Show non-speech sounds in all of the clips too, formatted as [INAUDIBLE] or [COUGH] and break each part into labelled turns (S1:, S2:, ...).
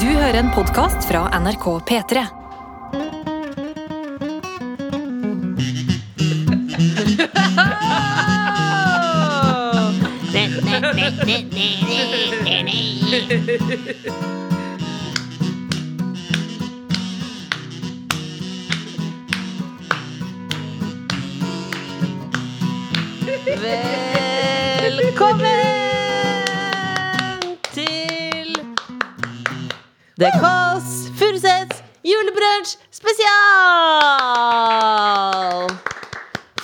S1: Du hører en podkast fra NRK P3.
S2: Velkommen til The Kåss Furuseths julebrunsj spesial!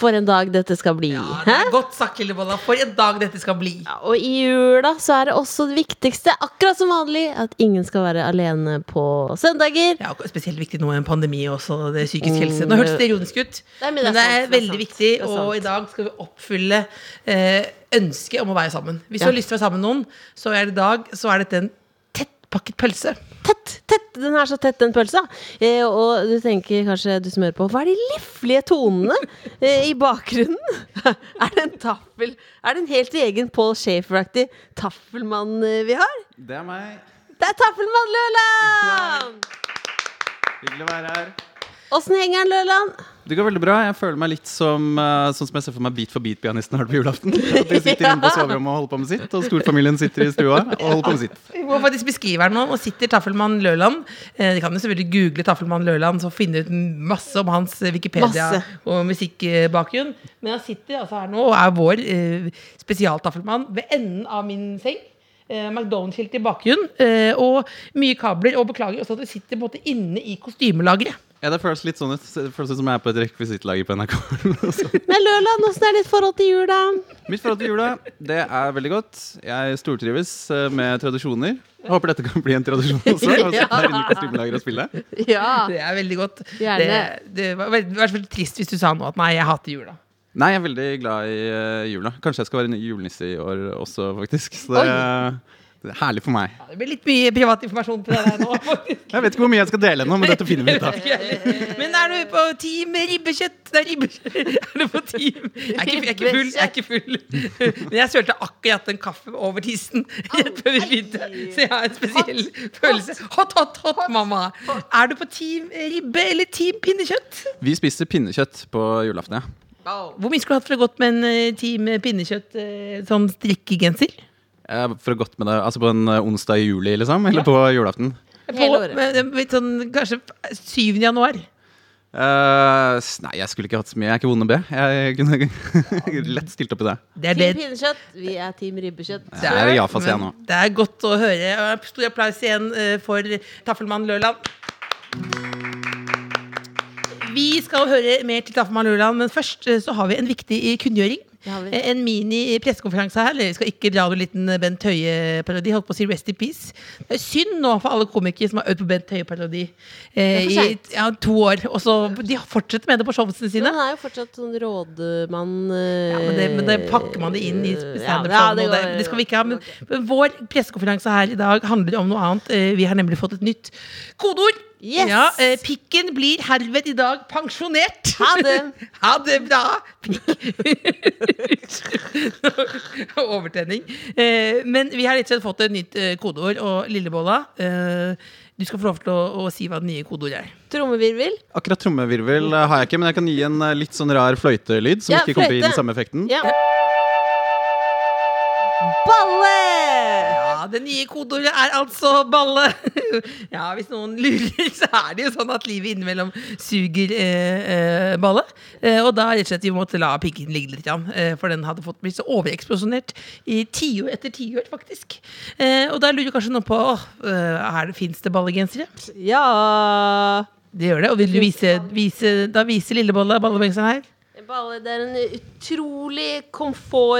S2: For en dag dette skal bli.
S3: Ja, det
S2: Hæ?
S3: er godt sagt, Lillebolla. For en dag dette skal bli.
S2: Ja, Og i jula så er det også det viktigste, akkurat som vanlig, at ingen skal være alene på søndager.
S3: Ja, og spesielt viktig nå i en pandemi også, det er psykisk helse. Nå hørtes det ironisk ut,
S2: Nei, men
S3: men
S2: det er
S3: det er
S2: sant, det er
S3: veldig
S2: sant,
S3: viktig.
S2: Mm. det er sant.
S3: Og i dag skal vi oppfylle eh, ønsket om å være sammen. Hvis du
S2: Ja.
S3: har lyst til å være sammen med noen, så er det i dag så er dette en tettpakket pølse.
S2: Tett, tett, Den er så tett, den pølsa. Eh, og du tenker kanskje du som hører på, hva er de liflige tonene eh, i bakgrunnen? [LAUGHS] er det en taffel? Er det en helt egen Paul Shafer-aktig taffelmann eh, vi har?
S4: Det er meg.
S2: Det er taffelmann Løland!
S4: Hyggelig å være her.
S2: Åssen henger den, Løland?
S4: Det går veldig bra. Jeg føler meg litt som eh, sånn som jeg ser for meg Beat for beat-pianisten har det på [LAUGHS] julaften. At de sitter inne på soverommet og holder på med sitt, og storfamilien sitter i stua og holder på med sitt.
S3: Vi må faktisk beskrive her nå. Nå sitter Taffelmann Løland. Eh, de kan jo selvfølgelig google Taffelmann Løland og finne ut masse om hans eh, Wikipedia
S2: Masse.
S3: og musikkbakgrunn. Men han sitter altså her nå og er vår eh, spesialtaffelmann ved enden av min seng. Eh, McDonald's-skilt i bakgrunnen eh, og mye kabler. Og beklager også at vi sitter på en måte inne i kostymelageret.
S4: Ja, det føles litt sånn ut. Det føles ut som jeg er på et rekvisittlager på [LAUGHS] NRK.
S2: Men Løland, åssen er ditt forhold til jula?
S4: Mitt forhold til jula, det er veldig godt. Jeg stortrives eh, med tradisjoner. Jeg håper dette kan bli en tradisjon [LAUGHS] også. å sitte her inne i kostymelageret og spille.
S2: Ja.
S3: Det er veldig godt.
S2: Gjerne.
S3: Det, det var veldig, det var veldig trist hvis du sa nå at nei, jeg hater jula.
S4: Nei, jeg er veldig glad i eh, jula. Kanskje jeg skal være en julenisse i år også, faktisk. Så det, det er herlig for meg.
S3: Ja, det blir litt mye privat informasjon på det der nå, [LAUGHS] faktisk.
S4: Jeg vet ikke hvor mye jeg skal dele ennå, men dette finner vi ut
S3: [LAUGHS]
S4: av.
S3: Men er du på team ribbekjøtt? Det er ribbekjøtt. [LAUGHS] Er du på team? Jeg er ikke, jeg er ikke full. Jeg er ikke full. [LAUGHS] Men jeg sølte akkurat en kaffe over tissen [LAUGHS] rett før vi begynte, så jeg har en spesiell følelse. Hot, hot, hot, mamma. Er du på team ribbe eller team pinnekjøtt?
S4: Vi spiser pinnekjøtt på julaften, ja.
S3: Hvor mye skulle du hatt for å gått med en eh, team pinnekjøtt eh, sånn strikkegenser?
S4: Eh, For å godt med det, altså på en eh, onsdag i juli, liksom? Eller på julaften?
S3: På,
S2: Hele året.
S3: med, med sånn, kanskje 7. januar.
S4: Eh, s- nei, jeg skulle ikke hatt så mye. Jeg er ikke vond å be. Jeg kunne [LAUGHS] lett stilt opp i det.
S3: Det er det
S2: Team pinnekjøtt, vi er team ribbekjøtt.
S4: Det er ja-fas jeg nå.
S3: Men Det er godt å høre. Og Stor applaus igjen eh, for Taffelmann Løland. Vi skal høre mer til Taffelmann Løland, men først eh, så har vi en viktig eh, kunngjøring.
S2: Det har vi.
S3: Eh, En mini-pressekonferanse her. Eller vi skal ikke dra noen liten eh, Bent Høie-parodi. Holdt på å si Rest in peace. Det er synd nå for alle komikere som har øvd på Bent Høie-parodi eh,
S2: Det er for
S3: i ja, to år. Og så de fortsetter med det på showene
S2: Men
S3: sine.
S2: han er jo fortsatt sånn rådmann eh,
S3: Ja, men, det, men det pakker man det inn i standup.
S2: Ja, ja,
S3: det,
S2: det
S3: det,
S2: går-
S3: det skal vi ikke ha. Men, men vår pressekonferanse her i dag handler om noe annet. Eh, Vi har nemlig fått et nytt kodeord.
S2: Yes!
S3: Ja, eh, pikken blir herved i dag pensjonert.
S2: Ha det.
S3: [LAUGHS] ha det bra! Pikk. [LAUGHS] Overtenning. Eh, Men vi har rett og slett fått et nytt eh, kodeord. Og Lillebolla, eh, du skal få lov til å, å si hva det nye kodeordet er.
S2: Trommevirvel.
S4: Akkurat trommevirvel eh, har jeg ikke, men jeg kan gi en eh, litt sånn rar fløytelyd som
S2: Ja,
S4: ikke kommer til å gi
S2: fløyte.
S4: den samme effekten.
S2: Ja. Balle!
S3: Ja, det nye kodeordet er altså balle. [LAUGHS] Ja, hvis noen lurer, så er det jo sånn at livet innimellom suger eh, eh, balle. Eh, og da rett og slett vi måtte la pikken ligge litt, grann, eh, for den hadde fått blitt så overeksplosjonert i tiår etter tiår, faktisk. Eh, og da lurer kanskje noen på åh, eh, fins det ballegensere?
S2: Ja
S3: Det gjør det. Og vil du vise, vise Da viser Lillebolla ballegenseren her.
S2: En balle, det er en utrolig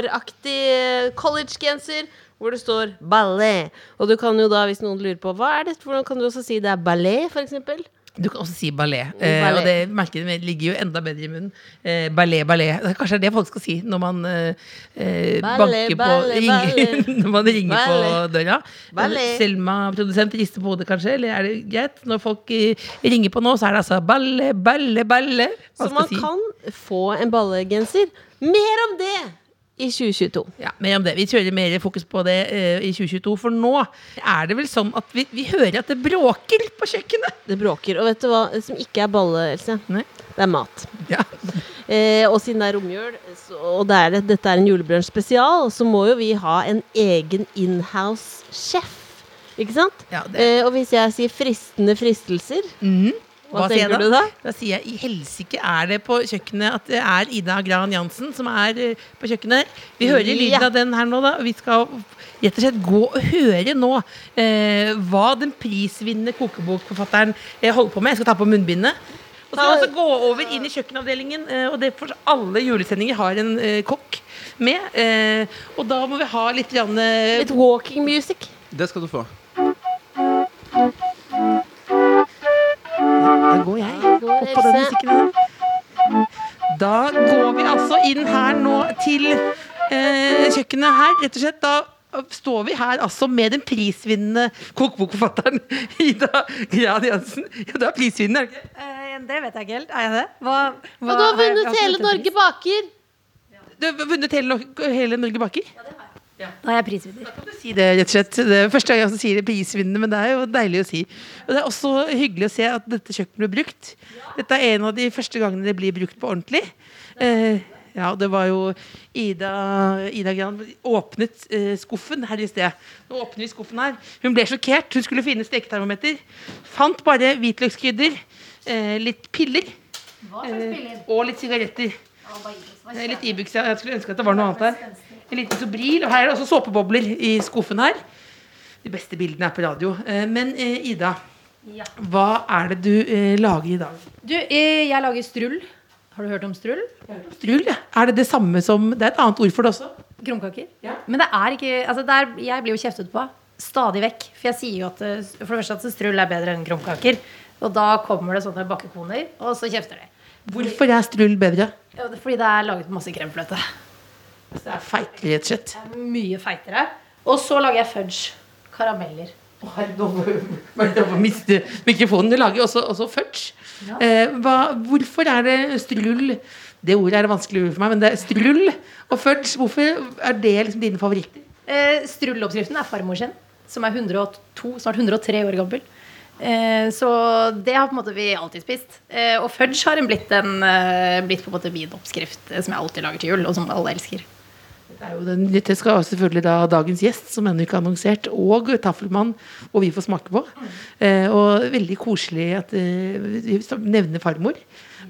S2: komfortaktig collegegenser hvor det står 'ballet'. Og du kan jo da, hvis noen lurer på hva er det, hvordan kan du også si det er ballet, for eksempel?
S3: Du kan også si ballet. Eh,
S2: Mm, Ballet.
S3: og det merket mitt ligger jo enda bedre i munnen. Eh, ballet, ballet. Det er Kanskje det er det folk skal si når man eh, eh,
S2: Ballet,
S3: banker på
S2: ballet,
S3: ringer,
S2: ballet.
S3: [LAUGHS] Når man ringer
S2: Ballet.
S3: på døra. Eh,
S2: Ballet.
S3: Selma, produsent, rister på hodet kanskje, eller er det greit? Når folk eh, ringer på nå, så er det altså balle, balle, balle. Hva
S2: Så
S3: skal
S2: man
S3: si?
S2: kan få en ballegenser. Mer om det i 2022.
S3: Ja, mer om det. Vi kjører mer fokus på det eh, i 2022, for nå er det vel sånn at vi, vi hører at det bråker på kjøkkenet.
S2: Det bråker. Og vet du hva som ikke er balle, Else?
S3: Nei.
S2: Det er mat.
S3: Ja.
S2: Eh, og siden det er romjul, så- og det er, dette er en julebransjespesial, så må jo vi ha en egen inhouse-sjef. Ikke sant?
S3: Ja, det-
S2: eh, og hvis jeg sier fristende fristelser, hva,
S3: sier jeg
S2: tenker du da?
S3: Da sier jeg i helsike er det på kjøkkenet at det er Ida Gran Jansen som er eh, på kjøkkenet. Vi hører lyden
S2: Ja.
S3: av den her nå, da. Og vi skal rett og slett gå og høre nå eh, hva den prisvinnende kokebokforfatteren eh, holder på med. Jeg skal ta på munnbindet. Og så skal vi også gå over inn i kjøkkenavdelingen, eh, og det for alle julesendinger har en eh, kokk med. eh, Og da må vi ha litt grann, eh,
S2: Litt walking music.
S4: Det skal du få.
S3: Der går jeg.
S2: Går
S3: Oppå den
S2: Else.
S3: musikken her. Da går vi altså inn her nå til eh, kjøkkenet her, rett og slett. Da eh, står vi her altså med den prisvinnende kokebokforfatteren [LAUGHS] Ida Gran Jansen. Ja, du er prisvinnende, er du ikke?
S5: Eh, det vet jeg ikke helt. Er jeg det? Hva, hva
S2: Og du har
S5: jeg-
S2: vunnet
S5: jeg ikke
S2: hele
S5: vunnet en
S2: Norge baker!
S3: Du har vunnet hele, Nor- hele Norge baker.
S5: pris. Da er jeg prisvinner.
S3: Kan du si det, rett og slett? Det er første gang jeg også sier det prisvinnende, men det er jo deilig å si. Og det er også hyggelig å se at dette kjøkkenet blir brukt. Dette er en av de første gangene det blir brukt på ordentlig. Eh, ja, det var jo Ida, Ida Gran åpnet eh, skuffen her i sted. Nå åpner vi skuffen her. Hun ble sjokkert. Hun skulle finne steketermometer. Fant bare hvitløkskrydder, eh, litt piller eh, og litt sigaretter. Det er litt Ibux, ja. Jeg skulle ønske at det var noe annet her. En liten Sobril. Og her er det også såpebobler i skuffen her. De beste bildene er på radio. Eh, Men eh, Ida,
S5: Ja.
S3: hva er det du eh, lager i dag?
S5: Du, eh, jeg lager strull. Har du hørt om strull?
S3: Strull, ja. Er det det samme som Det er et annet ord for det også?
S5: Krumkaker?
S3: Ja.
S5: Men det er ikke altså det er- Jeg blir jo kjeftet på stadig vekk. For jeg sier jo at eh, For det første at strull er bedre enn krumkaker. Og da kommer det sånne bakkekoner, og så kjefter de.
S3: Hvorfor er strull bedre?
S5: Ja, det er Fordi det er laget på masse kremfløte.
S3: Det er feitere, rett og slett.
S5: Det er Mye feitere. Og så lager jeg fudge. Karameller.
S3: Å, herre, Nå må nå må jeg miste mikrofonen. Du lager jo også, også fudge. Eh, hva, hvorfor er det strull Det ordet er vanskelig ord for meg, men det er strull og fudge. Hvorfor er det liksom dine favoritter?
S5: Eh, Strulleoppskriften er farmor sin, som er 102, snart 103 år gammel. Eh, så det har på en måte vi alltid spist. Eh, og fudge har en blitt, en, eh, blitt på en måte min oppskrift, eh, som jeg alltid lager til jul, og som alle elsker.
S3: Det er jo den, dette skal jo selvfølgelig da dagens gjest, som ennå ikke er annonsert, og Taffelmann, og vi får smake på. Eh, og veldig koselig at eh, vi nevner farmor.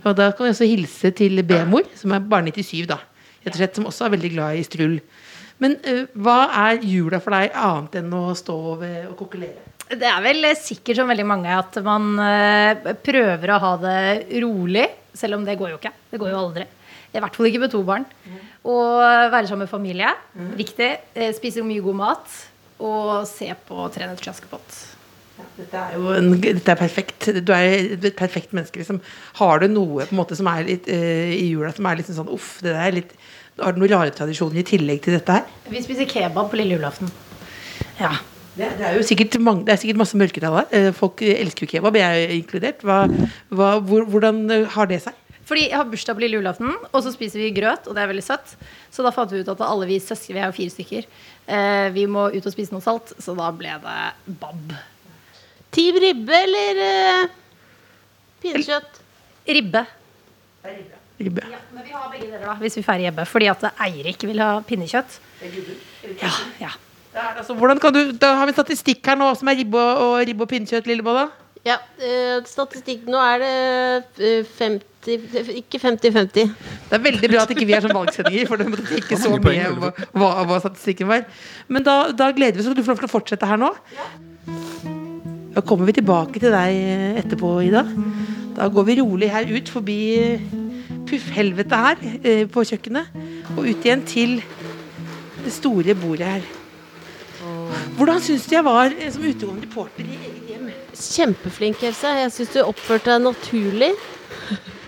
S3: Og da kan vi også hilse til B-mor, som er bare 97, da. Rett og slett, som også er veldig glad i strull. Men eh, hva er jula for deg, annet enn å stå ved og kokkelere?
S5: Det er vel eh, sikkert som veldig mange at man eh, prøver å ha det rolig, selv om det går jo ikke. Det går jo aldri. I hvert fall ikke med to barn. Og eh, være sammen med familie, viktig. Eh, Spise mye god mat. Og se på Tre nøtter til Askepott.
S3: Dette er jo en, dette er perfekt. Du er et perfekt menneske. Liksom. Har du noe på en måte som er litt, eh, i jula som er litt sånn uff, det der er litt Har du noen rare tradisjoner i tillegg til dette her?
S5: Vi spiser kebab på lille julaften. Ja.
S3: Det, det er jo sikkert, mange, det er sikkert masse mørketall her. Eh, Folk elsker jo kebab, jeg er inkludert. Hva, hva, hvor, hvordan eh, har det seg?
S5: Fordi jeg har bursdag på lille julaften, og så spiser vi grøt, og det er veldig søtt. Så da fant vi ut at alle vi søsken, vi er jo fire stykker, eh, vi må ut og spise noe salt. Så da ble det bab.
S2: Team ribbe eller eh, pinnekjøtt?
S5: Ribbe.
S3: Ribbe.
S5: Men vi har begge deler da, hvis vi feirer hjemme. Fordi at Eirik vil ha pinnekjøtt. Ja, ja.
S3: Det er, altså, hvordan kan du, da har vi en statistikk her nå som er ribbe og, og, ribbe og pinnekjøtt, Lillebolla.
S2: Ja, eh, statistikk Nå er det eh, 50 Ikke 50-50.
S3: Det er veldig bra at ikke vi er sånn valgsendinger, for du måtte tenke så
S4: Mange
S3: mye
S4: poeng,
S3: hva, hva, hva statistikken var. Men da, da gleder vi oss, og du får lov til å fortsette her nå. Da kommer vi tilbake til deg eh, etterpå, Ida. Da går vi rolig her ut forbi eh, puffhelvetet her eh, på kjøkkenet, og ut igjen til det store bordet her. Hvordan syns du jeg var eh, som utegående reporter i eget hjem?
S2: Kjempeflink, Else. Jeg syns du oppførte deg naturlig.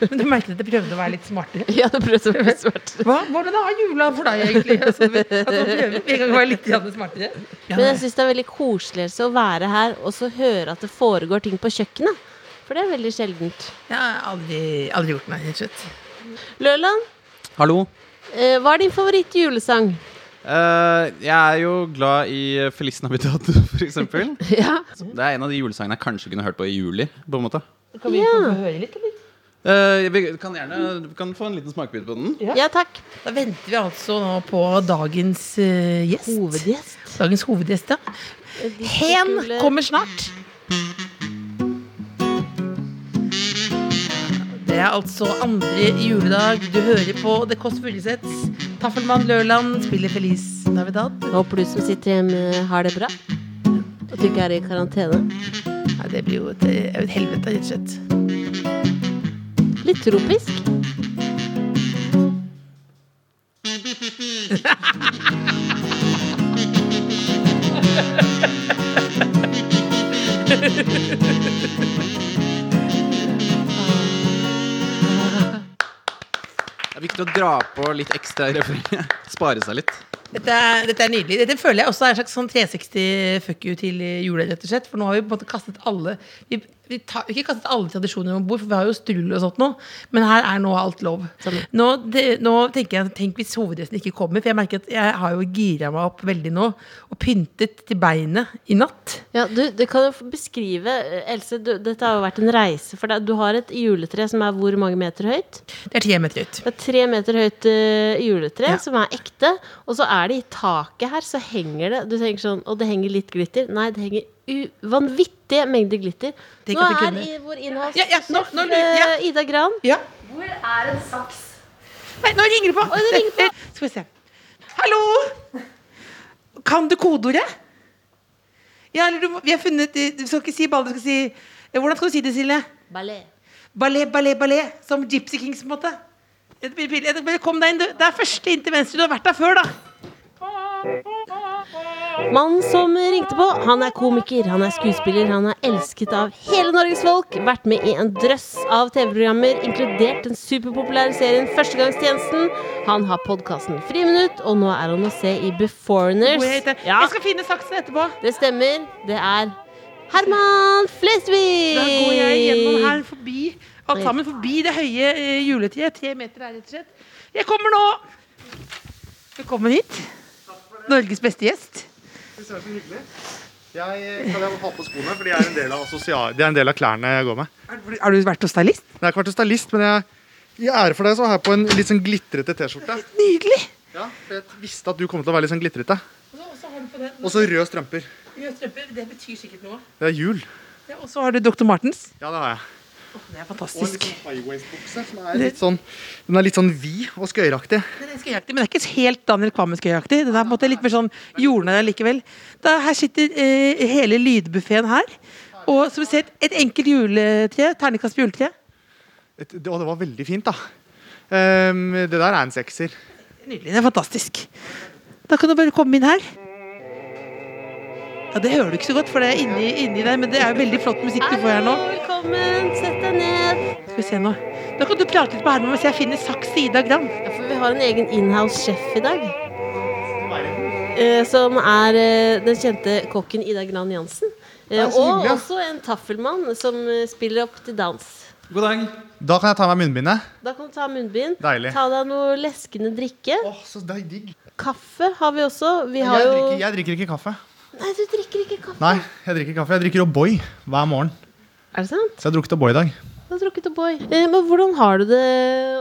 S3: Men du merket at jeg prøvde å være litt smartere?
S2: Ja, det prøvde å være svart.
S3: Hva var det da jula for deg, [LAUGHS] egentlig? Altså, at man prøver en gang å være litt grann smartere? Ja,
S2: Men jeg syns det er veldig koselig Else, å være her og så høre at det foregår ting på kjøkkenet. For det er veldig sjeldent.
S3: jeg har aldri, aldri gjort meg, rett og slett.
S2: Løland,
S4: Hallo.
S2: Eh, Hva er din favorittjulesang?
S4: Eh, jeg er jo glad i Feliz Navidad, [LAUGHS] for eksempel.
S2: [LAUGHS] Ja.
S4: Det er en av de julesangene jeg kanskje kunne hørt på i juli. på en måte.
S3: Kan vi
S2: Ja.
S3: få høre litt, eller?
S4: Eh, vi kan gjerne vi kan få en liten smakebit på den.
S2: ja, takk.
S3: Da venter vi altså nå på dagens eh, gjest.
S2: Hovedgjest.
S3: Dagens hovedgjest, ja. Hen kommer snart. Det er altså andre juledag. Du hører på The Kåss Furuseths. Taffelmann Løland spiller Feliz Navidad.
S2: Håper du som sitter hjemme, har det bra. At du ikke er i karantene.
S3: Nei, det blir jo et, et helvete, rett og slett.
S2: Litt tropisk.
S4: Det er viktig å dra på litt ekstra i refrenget. [LAUGHS] Spare seg litt.
S3: Dette er, dette er nydelig. Dette føler jeg også er en slags sånn 360 fuck you til jula, rett og slett. For nå har vi på en måte kastet alle Vi, vi tar, ikke kastet alle tradisjoner om bord, for vi har jo strull og sånn nå. Men her er nå alt lov.
S2: Sånn.
S3: Nå, det, nå tenker jeg Tenk hvis hovedgjesten ikke kommer, for jeg merker at jeg har jo gira meg opp veldig nå. Og pyntet til beinet i natt.
S2: Ja, du, du kan jo f- beskrive eh, Else, du, dette har jo vært en reise for deg. Du har et juletre som er hvor mange meter høyt?
S3: Det er tre meter ut.
S2: Det er tre meter høyt eh, juletre
S3: Ja.
S2: som er ekte. Og så er det i taket her, så henger det Du tenker sånn Og det henger litt glitter. Nei, det henger u vanvittige mengder glitter.
S3: Tenk
S2: Nå
S3: at det
S2: er
S3: kunne.
S2: i vår innhavs
S3: Ja, ja, nå- nå lurer-
S2: eh,
S3: ja.
S2: Ida Gran.
S3: Ja.
S5: Hvor er en saks?
S3: Nei, nå ringer det på!
S2: det ringer på.
S3: [LAUGHS] Skal vi se. Hallo! Kan du kodeordet? Ja, eller du, må- vi har funnet eh, Du skal ikke si ball, du skal si eh, Hvordan skal du si det, Silje?
S2: Ballet.
S3: Ballet, ballet, ballet. Som Gypsy Kings, på en måte. Det blir pinlig. Det blir- Kom deg inn, du. Det er første inn til venstre. Du har vært der før, da.
S2: Mannen som ringte på, han er komiker, han er skuespiller, han er elsket av hele Norges folk, vært med i en drøss av TV-programmer, inkludert den superpopulære serien Førstegangstjenesten. Han har podkasten Friminutt, og nå er han å se i Beforeigners.
S3: Hvor jeg heter.
S2: Ja,
S3: Jeg skal finne saksen etterpå.
S2: det stemmer. Det er Herman Flesvig!
S3: Da går jeg gjennom her forbi. Alt sammen forbi det høye eh, juletreet. Tre meter her, rett og slett. Jeg kommer nå. Velkommen hit. Norges beste gjest.
S6: Så hyggelig. Jeg eh, kan jeg ha på skoene, for de er en del av, sosial, de er en del av klærne jeg går med.
S3: Har du vært hos stylist?
S6: Jeg har ikke vært til stylist, men jeg, i ære for deg så har jeg på en litt sånn glitrete T-skjorte.
S3: Nydelig!
S6: Ja, for jeg visste at du kom til å være litt sånn glitrete.
S3: Og så har du på den
S6: Og så røde strømper.
S3: røde strømper. Det betyr sikkert noe.
S6: Det er jul.
S3: Ja, og så har du Dr. Martens.
S6: Ja, det har jeg.
S3: Det er
S6: Og en
S3: fantastisk.
S6: litt sånn highwaist-bukse som er litt sånn, den er litt sånn vid og skøyeraktig.
S3: Den er skøyeraktig, men det er ikke helt Daniel Kvammen-skøyeraktig. Den er på en måte litt mer sånn jordnær likevel. Da, her sitter eh, hele lydbuffeen her. Og som vi ser, et enkelt juletre. Terningkast på juletre.
S6: Et, det, og det var veldig fint, da. Ehm, det der er en sekser.
S3: Nydelig. Det er fantastisk. Da kan du bare komme inn her. Ja, Det hører du ikke så godt, for det er inni, inni der, men det er jo veldig flott musikk du får her nå.
S2: Velkommen, sett deg ned.
S3: Skal vi se nå. Da kan du prate litt med Herman mens jeg finner saks til Ida Gram.
S2: Ja, for vi har en egen inhouse-sjef i dag. Eh, som er eh, den kjente kokken Ida Gran Jansen. Eh,
S6: Nei, så
S2: og
S6: hyggelig, ja.
S2: også en taffelmann som eh, spiller opp til dans.
S4: God dag.
S6: Da kan jeg ta av meg munnbindet.
S2: Da kan du ta munnbind.
S6: Deilig.
S2: Ta deg noe leskende drikke.
S6: Åh, så det er digg.
S2: Kaffe har vi også. Vi har
S6: jeg,
S2: jo
S6: drikker, jeg drikker ikke kaffe.
S2: Nei, du drikker ikke kaffe.
S6: Nei, jeg drikker kaffe. Jeg drikker O'boy hver morgen.
S2: Er det sant?
S6: Så jeg har drukket O'boy i dag.
S2: Du har drukket O'boy. Eh, men hvordan har du det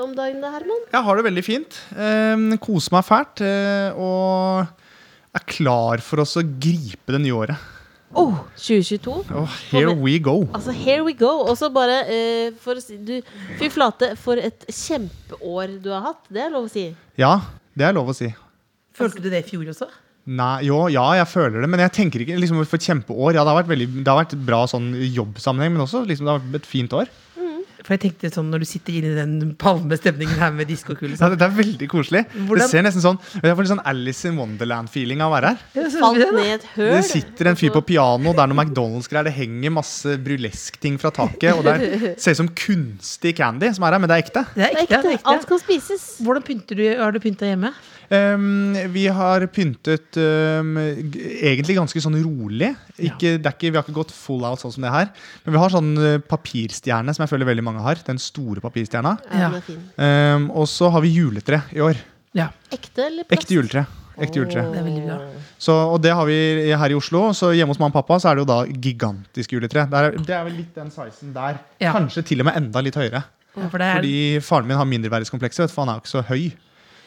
S2: om dagen da, Herman?
S6: Jeg har det veldig fint. Eh, koser meg fælt. Eh, og er klar for oss å gripe det nye året.
S2: Oh, 2022.
S6: Og here we go.
S2: Altså, here we go. Og så bare eh, for å si du, Fy flate, for et kjempeår du har hatt. Det er lov å si.
S6: Ja, det er lov å si.
S3: Følte du det i fjor også?
S6: Nei, jo, ja, jeg føler det, men jeg tenker ikke liksom, for et kjempeår. Ja, det har vært, veldig, det har vært bra sånn i jobbsammenheng, men også liksom, det har vært et fint år.
S3: For jeg tenkte sånn når du sitter inne i den palmestemningen her med diskokule
S6: Ja, det er veldig koselig.
S3: Hvordan-
S6: Det ser nesten sånn, Jeg får litt sånn Alice in Wonderland-feeling av å være her.
S2: Falt ned i et høl.
S6: Det sitter en fyr på piano, det er noe McDonald's-greier, det henger masse burlesk-ting fra taket. Og det er- ser ut som kunstig candy som er her, men det er ekte.
S3: Det er
S2: Det er
S3: ekte. Det er
S2: ekte. Alt
S3: ekte.
S2: kan spises.
S3: Hvordan pynter du, har du pynta hjemme?
S6: Ehm, vi har pyntet ehm, g- egentlig ganske sånn rolig. Ikke, det er ikke, vi har ikke gått full out sånn som det her. Men vi har sånn eh, papirstjerne som jeg føler veldig mange har. Den store papirstjerna.
S2: Ja, den er fin.
S6: Ehm, og så har vi juletre i år.
S3: Ja,
S2: Ekte eller plast?
S6: Ekte juletre. Ekte juletre.
S3: det er veldig bra.
S6: Så, og det har vi her i Oslo. Så hjemme hos mamma og pappa så er det jo da gigantisk juletre. Det er, det er vel litt den sizen der.
S3: Ja.
S6: Kanskje til og med enda litt høyere.
S3: Ja, for det er,
S6: Fordi faren min har mindreverdighetskomplekser, vet du, for han er jo ikke så høy.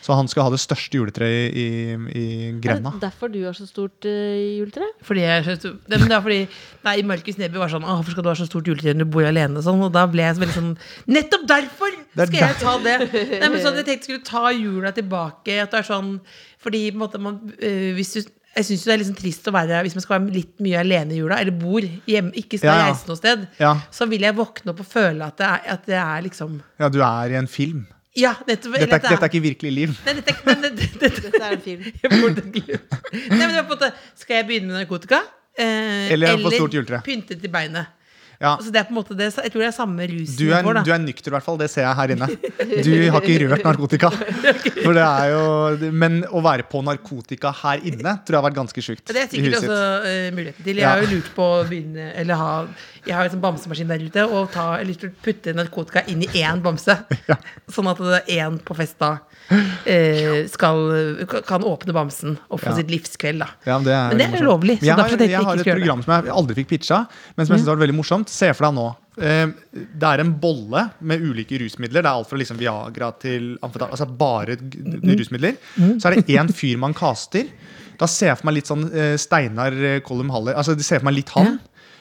S6: Så han skal ha det største juletreet i, i, i
S2: Er det
S6: grenda.
S2: derfor du har så stort eh, juletre?
S3: fordi jeg skjønte, det, men det er fordi Nei, Markus Neby var sånn «Åh, 'Hvorfor skal du ha så stort juletre når du bor alene?' og Sånn, og da ble jeg veldig sånn Nettopp derfor
S6: Det er
S3: skal jeg ta det!
S6: [LAUGHS]
S3: Nei, men sånn, Jeg tenkte jeg skulle ta jula tilbake. At det er sånn Fordi på en måte man, øh, hvis du jeg syns det er liksom trist å være hvis man skal være litt mye alene i jula, eller bor hjemme, ikke skal
S6: Ja, ja.
S3: reise noe sted.
S6: Ja.
S3: Så vil jeg våkne opp og føle at det er, at det er liksom
S6: Ja, du er i en film.
S3: Ja, nettopp.
S6: Dette er, dette er ikke virkelig liv.
S3: Nei, dette, er- men det- det- det-
S2: Dette er en film.
S3: [LAUGHS] jeg får det til å glu. Nei, men det var på en måte Skal jeg begynne med narkotika? Eh,
S6: Eller få stort juletre.
S3: pynte til beinet.
S6: Ja.
S3: Altså, det er på en måte det, jeg tror det er samme rusen
S6: Du er,
S3: vår, da.
S6: du er nykter, i hvert fall. Det ser jeg her inne. Du har ikke rørt narkotika. For det er jo, men å være på narkotika her inne tror jeg har vært ganske sjukt.
S3: det er
S6: i
S3: sikkert
S6: huset.
S3: også eh, muligheten til. Jeg
S6: Ja.
S3: har jo lurt på å begynne Eller ha Jeg har jo en sånn bamsemaskin der ute, og ta, jeg har lyst til å putte narkotika inn i én bamse.
S6: [LAUGHS] Ja.
S3: Sånn at det er én på fest da eh, skal, kan åpne bamsen og få
S6: Ja.
S3: sitt livskveld, da.
S6: Ja, men det er,
S3: Men det
S6: veldig
S3: er
S6: morsomt.
S3: ulovlig, så
S6: jeg
S3: derfor
S6: har,
S3: tenkte jeg
S6: jeg
S3: ikke
S6: har et
S3: skulle gjøre det. Mm.
S6: program som jeg aldri fikk pitcha, men som jeg synes har vært veldig morsomt. Se for deg nå. eh, Det er en bolle med ulike rusmidler. Det er alt fra liksom Viagra til amfetam... Altså bare g-
S3: Mm.
S6: rusmidler. Så er det én fyr man caster. Da ser jeg for meg litt sånn eh, Steinar eh, Kollum Haller Altså, det ser jeg for meg litt han.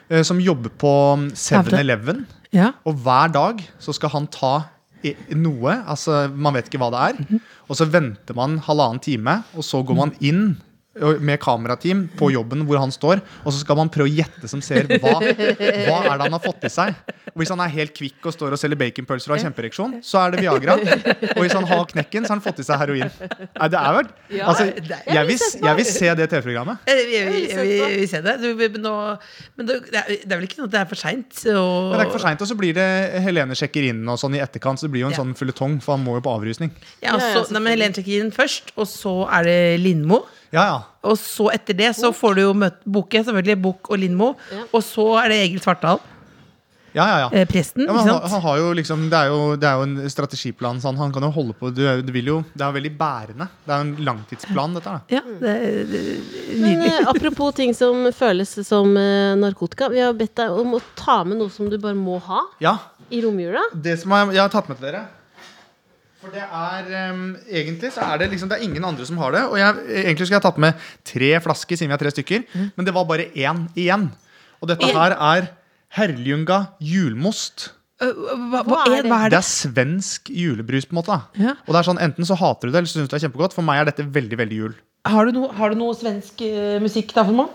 S6: eh, Som jobber på mm, 7-Eleven.
S3: Ja.
S6: Og hver dag så skal han ta i- noe, altså man vet ikke hva det er. Og så venter man halvannen time, og så går man inn ø, med kamerateam på jobben hvor han står, og så skal man prøve å gjette som ser hva, hva er det han har fått i seg. Og hvis han er helt kvikk og står og selger baconpølser og har kjempereaksjon, så er det Viagra. Og hvis han har knekken, så har han fått i seg heroin. Nei, det er vel altså, jeg, vil, s- jeg vil se det TV-programmet.
S3: Eh, Vi, vi, vi, vi ser det. Du, vi, men nå, men det, det er det er vel ikke sånn at det er for seint?
S6: Men det er ikke for seint, og så blir det Helene sjekker inn og sånn i etterkant. Så det blir jo en
S3: Ja.
S6: sånn føljetong, for han må jo på avrusning.
S3: Ja, og
S2: Ja, ja,
S3: så- nei, men Helene sjekker inn først, og så er det Lindmo.
S6: Ja, ja.
S3: Og så etter det så får du jo møte Bukke, selvfølgelig. Bukk og Lindmo.
S2: Ja.
S3: Og så er det Egil Svartdal,
S6: Ja, ja, ja.
S3: eh, presten.
S6: Ja, men
S3: ikke
S6: han,
S3: sant?
S6: han har jo liksom, det, er jo, det er jo en strategiplan, så han, han kan jo holde på. Du, er- du vil jo, det er veldig bærende. Det er jo en langtidsplan, dette. her,
S3: ja, det, det,
S2: Men eh, apropos ting som føles som eh, narkotika. Vi har bedt deg om å ta med noe som du bare må ha
S6: Da. Ja,
S2: i romjula.
S6: det som jeg, jeg har tatt med til dere For det er em, egentlig så er det liksom Det er ingen andre som har det. Og jeg, egentlig skulle jeg tatt med tre flasker, siden vi er tre stykker,
S3: Mm.
S6: men det var bare én igjen. Og dette her er Herljunga julmost.
S3: Ø, ø, Øh, hva, hva, er, hva er
S6: Det
S3: det?
S6: er svensk julebrus, på en måte. da.
S3: Ja.
S6: Og det er sånn, Enten så hater du det, eller så syns du det er kjempegodt. For meg er dette veldig, veldig jul.
S3: Har, du noe, har du noe svensk eh, musikk da for meg?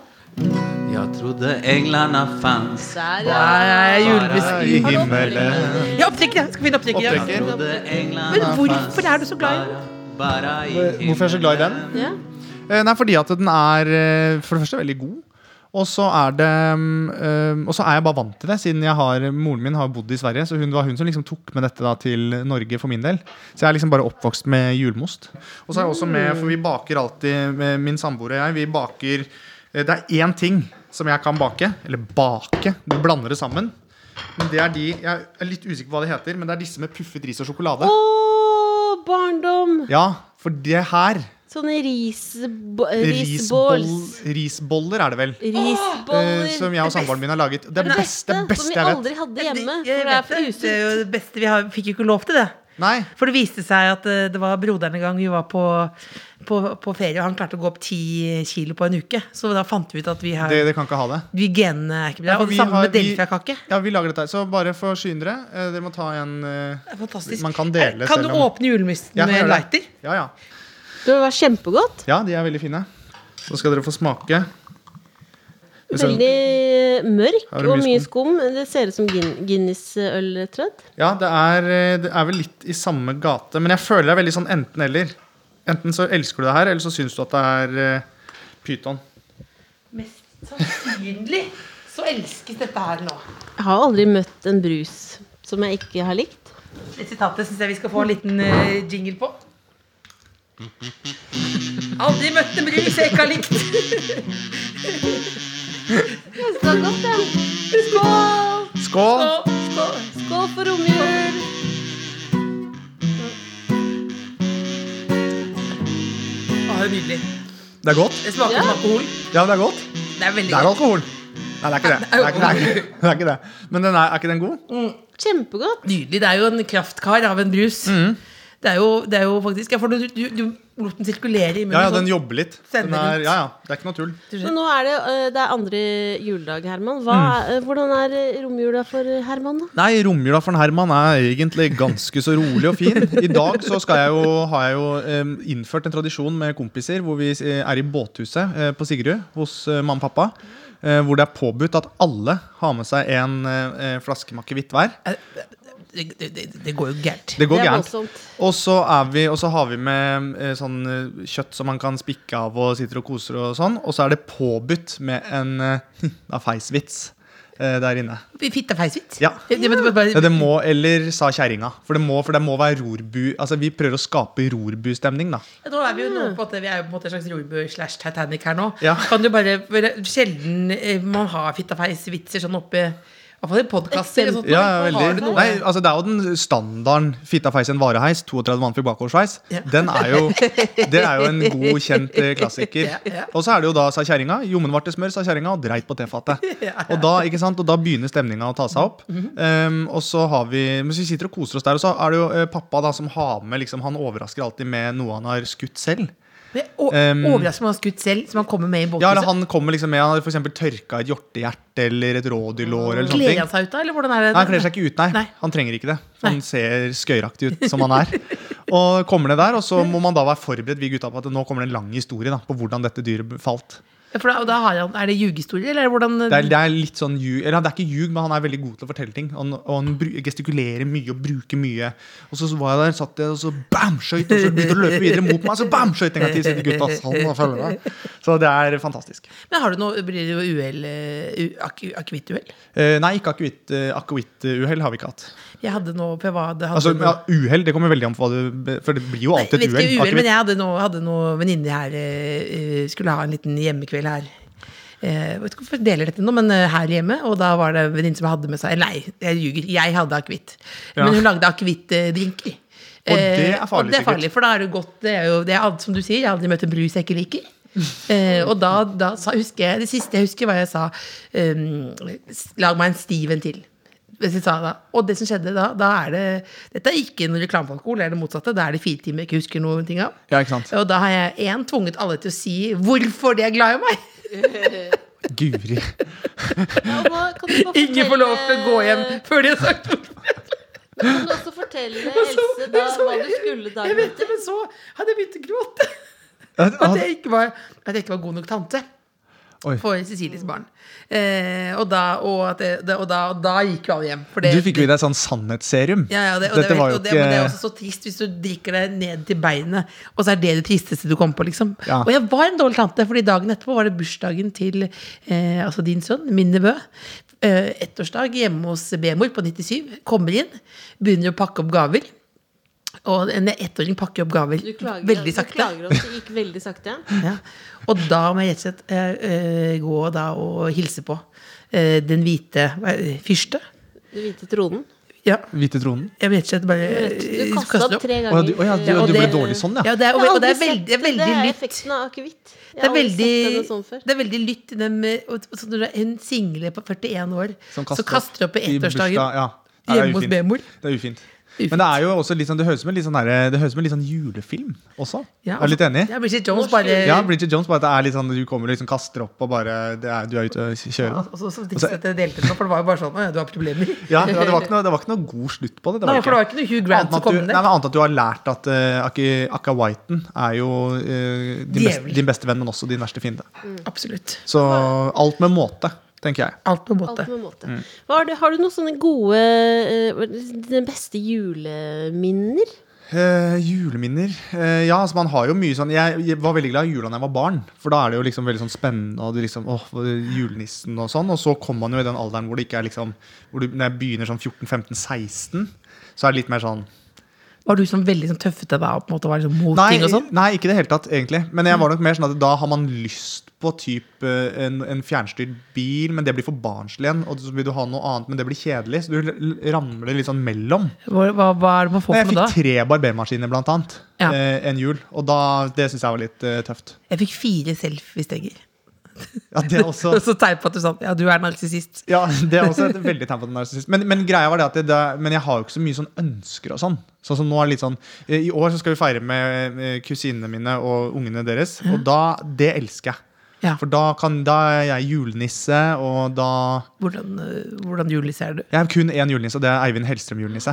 S4: Jeg trodde englene fanns
S2: Der,
S3: Nei,
S4: Bare
S3: julemusikk
S4: i
S6: himmelen
S3: Ja, opptrekk, ja. Skal finne opptrekket. Ja.
S6: Opptrekker.
S3: Men hvorfor er du så glad i den?
S6: Hvorfor er jeg så glad i den?
S2: Ja.
S6: Eh, Nei, fordi at den er eh, for det første veldig god. Og så er det mm, eh, Og så er jeg bare vant til det, siden jeg har, moren min har bodd i Sverige. Så hun det var hun som liksom tok med dette da til Norge for min del. Så jeg er liksom bare oppvokst med julmost. Og så er jeg også med, for vi baker alltid, med min samboer og jeg, vi baker eh, Det er én ting som jeg kan bake. Eller bake. Du blander det sammen. Men det er de Jeg er litt usikker på hva det heter, men det er disse med puffet ris og sjokolade.
S2: Å, barndom!
S6: Ja, for det her
S2: Sånne eh, risbo risballs.
S6: Risboll- Risboller er det vel?
S2: Risboller.
S6: Eh, som jeg og samboeren min har laget. Det er det beste, det beste
S2: som vi
S6: jeg vet.
S2: aldri hadde hjemme.
S3: Jeg
S2: For det er
S3: vet
S2: for
S3: det. Det er
S2: usunt.
S3: jo det beste vi har, fikk jo ikke lov til det.
S6: Nei,
S3: For det viste seg at eh, det var broderen en gang vi var på, på, på ferie, og han klarte å gå opp ti kilo på en uke. Så da fant vi ut at vi har
S6: det, det kan ikke ha det.
S3: vi genene er ikke bra.
S6: Ja, for
S3: Og
S6: vi
S3: det samme
S6: har-
S3: med
S6: vi-
S3: delfiakake.
S6: Ja, vi lager dette her. Så bare forsyne dere. Eh, Dere må ta en eh,
S3: Det er Fantastisk. Eh,
S6: Man kan dele
S3: kan
S6: selv
S3: du
S6: om-
S3: åpne julemysten
S6: Jeg kan
S3: med
S6: gjøre
S3: en
S6: det.
S3: lighter?
S6: Ja, ja.
S2: Det var kjempegodt.
S6: ja, de er veldig fine. Så skal dere få smake. Så-
S2: Veldig eh, mørk
S6: Har du mye
S2: og mye skum. Det ser ut som Gin- Guinness-øltrødd.
S6: Ja, det er, eh, det er vel litt i samme gate, men jeg føler det er veldig sånn enten-eller. Enten så elsker du det her, eller så syns du at det er eh, pyton.
S3: Mest sannsynlig så elskes dette her nå.
S2: Jeg har aldri møtt en brus som jeg ikke har likt.
S3: Det sitatet syns jeg vi skal få en liten eh, jingle på. Aldri møtt en brus jeg ikke har likt.
S2: Skål godt, ja. Skål!
S6: Skål!
S3: Skål, skål.
S2: Skål for romjul!
S3: det er nydelig.
S6: Det er godt.
S3: Det smaker som alkohol.
S6: Ja, det er godt.
S3: Det er veldig
S6: Det
S3: godt.
S6: er alkohol. Nei, det er ikke det. Det er ikke det. Er ikke, [LAUGHS] det, er ikke det. Men den er, er ikke den god?
S2: Kjempegodt.
S3: Nydelig. Det er jo en kraftkar av en brus.
S6: Mm.
S3: Det, er jo, det er jo faktisk ja, for du, du, du, Lorten sirkulerer i munnen.
S6: Ja, ja,
S3: sånn.
S6: den jobber litt. Den
S3: Sender
S6: er,
S3: rundt.
S6: ja, ja, Det er ikke noe tull.
S2: Men nå er det, eh, det er andre juledag, Herman. Hva,
S6: Mm.
S2: eh, Hvordan er eh, romjula for Herman, da?
S6: Nei, romjula for en Herman er egentlig ganske så rolig og fin. I dag så skal jeg jo, har jeg jo em, innført en tradisjon med kompiser hvor vi eh, er i båthuset eh, på Sigrud hos eh, mamma og pappa. eh, hvor det er påbudt at alle har med seg en eh, eh, flaske makevitt hver.
S3: Det, det, det- det går jo gærent.
S6: Det går
S2: det er
S6: gærent.
S2: voldsomt.
S6: Og så, er vi, og så har vi med eh, sånn eh, kjøtt som man kan spikke av og sitter og koser og sånn. Og så er det påbudt med en eh, [LAUGHS] da feisvits eh, der inne.
S3: Fitte feisvitt.
S6: Ja.
S3: Det, det, det,
S6: Ja, det må, eller sa kjerringa. For det må, for det må være rorbu Altså, vi prøver å skape rorbustemning, da.
S3: Ja, Nå er vi jo nå på en måte, vi er jo på en måte en slags jordbø slash Titanic her nå.
S6: Ah. Ja.
S3: Kan du bare, bare Sjelden eh, man har fittafeis-vitser sånn oppe I hvert fall i podkaster.
S6: Ja, veldig. Nei, altså, det er jo den standarden fitta feis en vareheis, 32 vannfri bakoversveis.
S3: Ja.
S6: Den er jo, det er jo
S3: [LAUGHS]
S6: en god, kjent eh, klassiker.
S3: Ja, ja.
S6: Og så er det jo da, sa kjerringa, jommen vart det smør, sa kjerringa, og dreit på
S3: [LAUGHS]
S6: tefatet. Og da, ikke sant, og da begynner stemninga å ta seg opp.
S3: Mhm.
S6: um, og så har vi Men så sitter og koser oss der, og så er det jo eh, pappa da som har med liksom, Han overrasker alltid med noe han har skutt selv. Um,
S3: Overraskende man har skutt selv, som man kommer med i
S6: Ja, eller
S3: båthuset.
S6: han kommer liksom med Han har for eksempel tørka et hjortehjerte eller et rådyrlår. eller sånne
S3: Gleder
S6: ting.
S3: han seg ut da, eller hvordan er det?
S6: Nei, han kler seg ikke ut, nei.
S3: Nei.
S6: Han trenger ikke det. Han ser skøyeraktig ut som han er.
S3: [LAUGHS]
S6: Og kommer ned der, og så må man da være forberedt vi gutta på at nå kommer det en lang historie da, på hvordan dette dyret falt.
S3: Ja, For da, da har han, er det ljugehistorier, eller hvordan
S6: Det er, det er litt sånn ljug, eller det er ikke ljug, men han er veldig god til å fortelle ting. Han, og han bru- gestikulerer mye og bruker mye. Og så var jeg der, satt jeg, og så bam, skøyt, og så begynte han å løpe videre mot meg, og så bam, skøyt en gang til, sitter gutta sånn og følger meg. Så det er fantastisk.
S3: Men har du noe Blir det jo uhell? eh, u- ak- Akevittuhell?
S6: Eh, nei, ikke akevitt- eh, akevitt-uhell har vi ikke hatt.
S3: Jeg hadde noe på hva det hadde
S6: Altså,
S3: noe-
S6: ja, Uhell, det kommer veldig an på hva du be- For det blir jo alltid
S3: Vet
S6: et
S3: ikke,
S6: uhell.
S3: uhell,
S6: Akevitt-
S3: men jeg hadde noe, hadde noe venninne her eh, eh, Skulle ha en liten hjemmekveld her. Eh, vet ikke hvorfor jeg deler dette nå, men eh, her hjemme. Og da var det en venninne som hadde med seg Nei, jeg ljuger. Jeg hadde akevitt. Men hun lagde eh, akevittdrinker.
S6: Og det er
S3: og
S6: farlig,
S3: det er farlig
S6: sikkert.
S3: for da er det godt Det er jo det er, alt som du sier, jeg har aldri møtt en brus jeg ikke
S6: [LAUGHS]
S3: liker. Eh, og da, da sa, husker jeg Det siste jeg husker, var jeg sa ehm, s- Lag meg en Steven til. Hvis jeg sa da. Og det som skjedde da, da er det Dette er ikke noe reklame for alkohol, det er det motsatte. Da er det fire timer jeg ikke husker noen ting av.
S6: Ja, ikke sant?
S3: Og da har jeg én tvunget alle til å si hvorfor de er glad i meg.
S6: Guri.
S2: Ja, og da
S6: [LAUGHS]
S2: kan du bare
S3: Ingen får lov til å gå hjem før de har sagt hvorfor.
S2: Kan du også
S6: [LAUGHS]
S2: fortelle Else da, hva du skulle
S3: Jeg
S2: dagen
S3: vet det, men så hadde jeg begynt å gråte. At
S6: At-
S3: jeg ikke var, at jeg ikke var god nok tante.
S6: Oi.
S3: For Cecilies barn. Eh, og, da, og, at det, det- og, da, og da gikk jo alle hjem. For det-
S6: Du fikk jo i deg sånn sannhetsserum.
S3: Ja, ja, det, og
S6: Dette
S3: det,
S6: var jo
S3: og det, men det er
S6: ikke
S3: også så trist hvis du drikker deg ned til beinet, og så er det det tristeste du kommer på, liksom.
S6: Ja.
S3: Og jeg var en dårlig tante, fordi dagen etterpå var det bursdagen til eh, altså din sønn, min nevø. Eh, ettårsdag hjemme hos bemor på 97. Kommer inn, begynner å pakke opp gaver. Og en ettåring pakker opp gaver
S2: Du klager,
S3: veldig
S2: du
S3: sakte.
S2: klager at det gikk veldig sakte.
S3: Ja. Og da må jeg rett og slett eh, eh, gå da og hilse på eh, den hvite hva er det, fyrste.
S2: Du hvite tronen.
S3: Ja,
S6: Hvite tronen.
S3: jeg må rett og slett bare
S2: Du
S3: eh,
S2: kasta
S3: det
S2: opp tre
S6: Å ja, du,
S2: ganger.
S6: å ja, du,
S3: Ja, og
S6: du ble
S3: det-
S6: dårlig sånn, ja.
S3: Ja, det er, og,
S2: Jeg har
S3: og det er
S2: aldri
S3: veldig, det er
S2: sett det.
S3: veldig
S2: Det er
S3: lytt.
S2: effekten av akevitt. Jeg
S3: Det er
S2: har aldri
S3: veldig,
S2: sett henne sånn før.
S3: det er veldig lytt til dem eh, og- og så Når det er en single på 41 år
S6: Som
S3: så kaster opp i
S6: i bursdag,
S3: ettårsdagen
S6: ja. Nei, det er
S3: hjemme hos
S6: ufint.
S3: bemor.
S6: Det er ufint.
S3: Ufint.
S6: Men det er jo også litt sånn, det høres ut som en litt sånn, derre- det høres ut som en litt sånn julefilm også.
S3: Ja,
S6: Er du litt enig?
S3: Ja, Bridget Jones bare
S6: Ja, Bridget Jones, bare at det er litt sånn du kommer og liksom kaster opp og bare det er, Du er ute og
S3: Ja,
S6: kjører.
S3: og altså, så, så trist at jeg delte det nå, for det var jo bare sånn «Å, ja, Du har problemer.
S6: Ja, ja Altså, det, var ikke noe, det var ikke noe god slutt på det.
S3: Nei, for det var ikke noe Hugh Grant
S6: Annet enn
S3: som
S6: at, du,
S3: kom
S6: nei,
S3: inn
S6: men
S3: der.
S6: annet at du har lært at eh, Aki- Akka Whiten er jo eh, din, beste,
S3: Djevel.
S6: din beste venn, men også din verste fiende.
S3: Absolutt.
S6: Så alt med måte, tenker jeg.
S3: Alt på en
S2: Alt
S3: måte.
S2: med måte.
S6: Mm.
S2: Hva har, du, har du noen sånne gode eh, Den beste juleminner?
S6: Eh, juleminner Eh, Ja, altså man har jo mye sånn jeg, jeg var veldig glad i jula da jeg var barn. For da er det jo liksom veldig sånn spennende. Og det liksom, åh, julenissen og sånn. Og så kommer man jo i den alderen hvor det ikke er liksom hvor du, Når jeg begynner sånn 14-15-16, så er det litt mer sånn
S3: Var du sånn veldig sånn tøffete da? og på en måte var liksom mot ting og sånn?
S6: nei, ikke i det hele tatt, egentlig. Men jeg var nok mer sånn at da har man lyst på typ eh, en, en fjernstyrt bil, men det blir for barnslig igjen. Og så vil du ha noe annet, men det blir kjedelig. Så du l- l- ramler litt sånn mellom.
S3: Hva, hva, hva er det man får for
S6: Men
S3: noe
S6: jeg fikk
S3: da?
S6: tre barbermaskiner, blant annet,
S3: Ja.
S6: eh, en jul. Og da, det syns jeg var litt eh, tøft.
S3: Jeg fikk fire
S6: [LAUGHS]
S3: selfiestenger.
S6: Ja,
S3: [LAUGHS]
S6: det er også
S3: Og så teipa du sånn. Ja, du er narsissist.
S6: Ja, det er også et veldig tegn på at den er narsissist. Men, men greia var det at det, det, Men jeg har jo ikke så mye sånn ønsker og sånn. Sånn som nå er det litt sånn eh, I år så skal vi feire med med kusinene mine og ungene deres, og da Det elsker jeg.
S3: Ja.
S6: For da, kan, da er jeg julenisse, og da
S3: Hvordan, øh, hvordan juliserer du?
S6: Jeg er kun én julenisse, og det er Eivind Hellstrøm-julenisse.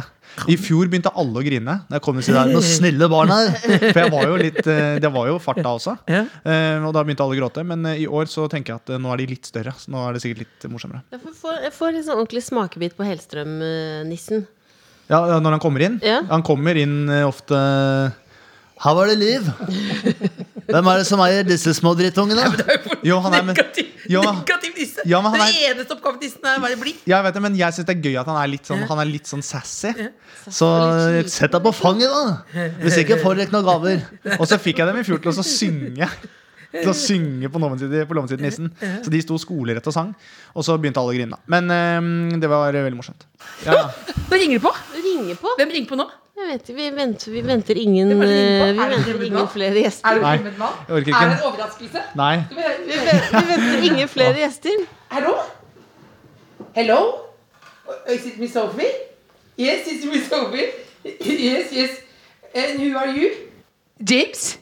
S6: I fjor begynte alle å grine. Da jeg kom og sa Nå snille barna!
S3: [LAUGHS]
S6: For jeg var jo litt, eh, det var jo fart da også.
S3: Ja.
S6: Eh, Og da begynte alle å gråte. Men eh, i år så tenker jeg at eh, nå er de litt større. Så nå er det sikkert litt eh, morsommere.
S2: Jeg får, får, jeg får liksom ordentlig smakebit på Hellstrøm-nissen.
S6: Ja, ja, når han kommer inn?
S2: Ja.
S6: Han kommer inn eh, ofte Her var det [LAUGHS] liv! Hvem er det som eier disse små drittungene? Jo, han er men,
S3: Negativ,
S6: Ja.
S3: negativ nisse!
S6: Ja, men han
S3: Den eneste oppgaven til nissen er å være blid.
S6: jeg vet det, men jeg syns det er gøy at han er litt sånn, han er litt sånn sassy. Så eh, sett deg på fanget, da! Hvis ikke får dere ikke noen gaver. Og så fikk jeg dem i fjor til å synge. Til å synge på lommen til- på lommen til nissen. Så de sto skolerett og sang. Og så begynte alle å grine. da. Men eh, det var eh, veldig morsomt. Ja, ja.
S3: Nå ringer det på!
S2: Ringer på!
S3: Hvem ringer på nå?
S2: Jeg vet, vi, venter, vi venter ingen,
S3: Hvem er det ringer
S2: eh,
S3: på?
S2: vi
S3: Er det
S2: venter
S3: Ruben
S2: ingen
S3: Dahl?
S2: flere
S3: Er
S2: gjester.
S3: du
S6: Nei,
S3: filmet nå?
S6: jeg orker ikke.
S3: Er det en overraskelse?
S6: Nei.
S3: Du må høre-
S2: Vi, ven- vi venter ingen flere gjester.
S3: Hallo? Hello? Oh, Is it Miss Sophie? Yes, it's Miss Sophie. [LAUGHS] Yes, yes. And who are you? James.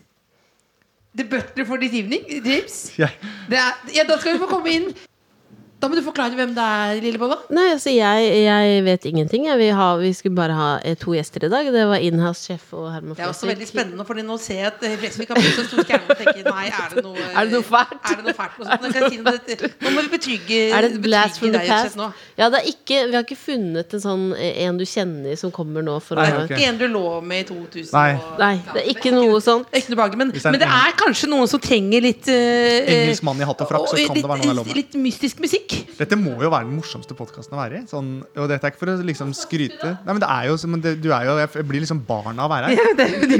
S3: The butler for this evening. James.
S6: [LAUGHS] Jeg,
S3: Det er, ja, da skal du få komme inn. Da må du forklare hvem det er, Lillebolla.
S2: Nei, altså jeg, jeg vet ingenting. Jeg, vi, har, vi skulle bare ha eh, to gjester i dag. Det var Inhouse-sjef og Herman
S7: Det er også
S2: Flesvig.
S7: veldig spennende, fordi nå ser jeg at eh, Flesvig har blitt så stor skjerm og tenker nei, er det
S3: [LAUGHS]
S7: noe,
S2: Er det noe fælt?
S7: Er det noe fælt? Og så kan jeg si noe, om dette. nå må vi betrygge,
S2: Er det et
S7: betrygge
S2: blast from the
S7: deg, Jens,
S2: past?
S7: nå.
S2: Ja, det er ikke, vi har ikke funnet en sånn eh, en du kjenner som kommer nå for å
S6: Nei, ok.
S7: Ikke en du lå med i 2000.
S6: Nei.
S7: og-
S2: Nei, det er ikke noe sånn. sånt.
S7: Det er Ikke noe behagelig, men,
S6: Hvis det er en
S7: men det er kanskje noen som trenger litt eh,
S6: engelsk mann i hatt og frakk, så
S7: eh,
S6: kan det være noe der
S7: litt,
S6: lomme.
S7: litt mystisk musikk.
S6: Dette må jo være den morsomste podkasten å være i. Sånn, og dette er ikke for å liksom skryte. Nei, men det er jo, som- det, du er jo Jeg blir liksom barn av å være her.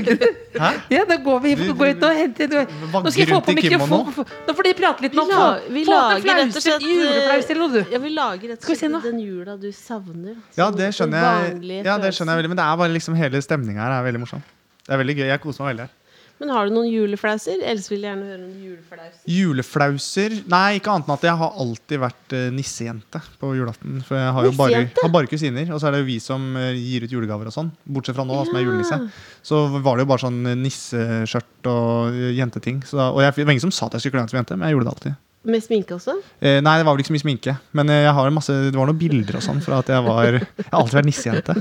S6: Hæ?
S7: Ja, da går vi
S6: Vi-
S7: gå ut og hente Nå skal jeg få
S6: rundt
S7: på
S6: i kimono.
S7: mikrofon. Nå får dere prate litt.
S2: Vi,
S7: Nå.
S2: la, vi
S7: få opp en
S2: lager rett og
S7: flause,
S2: slett
S7: juleflaus eller noe, du.
S2: Ja, vi lager rett
S7: Skal
S2: og
S7: vi se
S2: slett
S7: nå?
S2: den jula du savner.
S6: Ja,
S2: Sånn
S6: det
S2: den
S6: skjønner jeg,
S2: vanlige
S6: ja, det skjønner jeg
S2: følelsen.
S6: veldig. Men det er bare liksom hele stemninga her er veldig morsom. Det er veldig gøy. Jeg koser meg veldig her.
S2: Men har du noen juleflauser? Ellers vil jeg gjerne høre om juleflauser.
S6: Juleflauser Nei, ikke annet enn at jeg har alltid vært eh, nissejente på julaften. For jeg har jo bare,
S2: Nissejente?
S6: har bare kusiner, og så er det jo vi som eh, gir ut julegaver og sånn. Bortsett fra nå, da, som er julenisse. Så var det jo bare sånn eh, nisseskjørt og eh, jenteting. Så da, og jeg, det var ingen som sa at jeg skulle kle meg ut som jente, men jeg gjorde det alltid.
S2: Med sminke også?
S6: Eh, nei, det var vel ikke så mye sminke, men eh, jeg har masse, det var noen bilder og sånn fra at jeg var Jeg har alltid vært nissejente.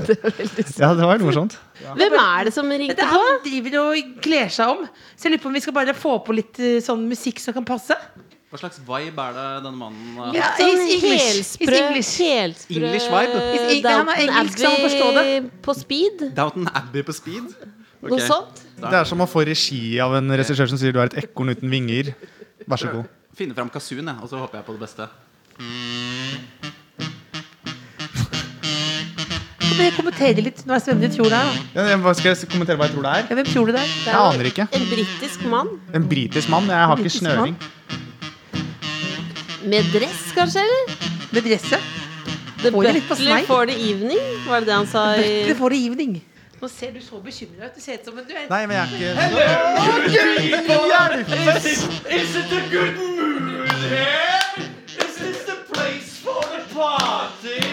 S6: Ja, det var helt morsomt.
S2: Hvem er det som
S7: Det
S2: ringte
S7: er
S2: på?
S7: han driver og kler seg om. Så jeg lurer på om vi skal bare få på litt eh, sånn musikk som kan passe.
S4: Hva slags vibe er det denne mannen eh, har?
S7: Ja,
S2: Sånn
S7: he's English.
S2: helsprø-
S7: He's English.
S2: helsprø
S4: English vibe?
S7: He's Eng- han er engelsk,
S2: Downton
S7: så han
S2: Abbey
S7: forstår
S2: På speed?
S4: Downton Abbey på speed?
S2: Noe sånt?
S6: Det er som å få regi av en regissør som sier du er et ekorn uten vinger. Vær så god.
S4: Finne fram kasun, jeg, og så håper jeg på det beste.
S7: Kan dere kommentere litt? Nå er Sven ditt kjole her. da.
S6: Ja, jeg- hva skal jeg kommentere hva jeg tror det er?
S7: Ja, hvem tror du det er?
S2: Det er
S6: Jeg aner ikke.
S2: En britisk mann?
S6: En britisk mann. Jeg har ikke
S7: Britisk
S6: snøring.
S2: Med dress, kanskje? eller?
S7: Med dresset?
S2: The
S7: Får det litt på
S2: butler
S7: snei.
S2: for the evening, var det det han sa? i
S7: Butler for the evening. Nå ser du så bekymra ut. Du ser ut som en du er
S6: Nei, men jeg er ikke
S8: Is it a good mood here? Is this the place for the party?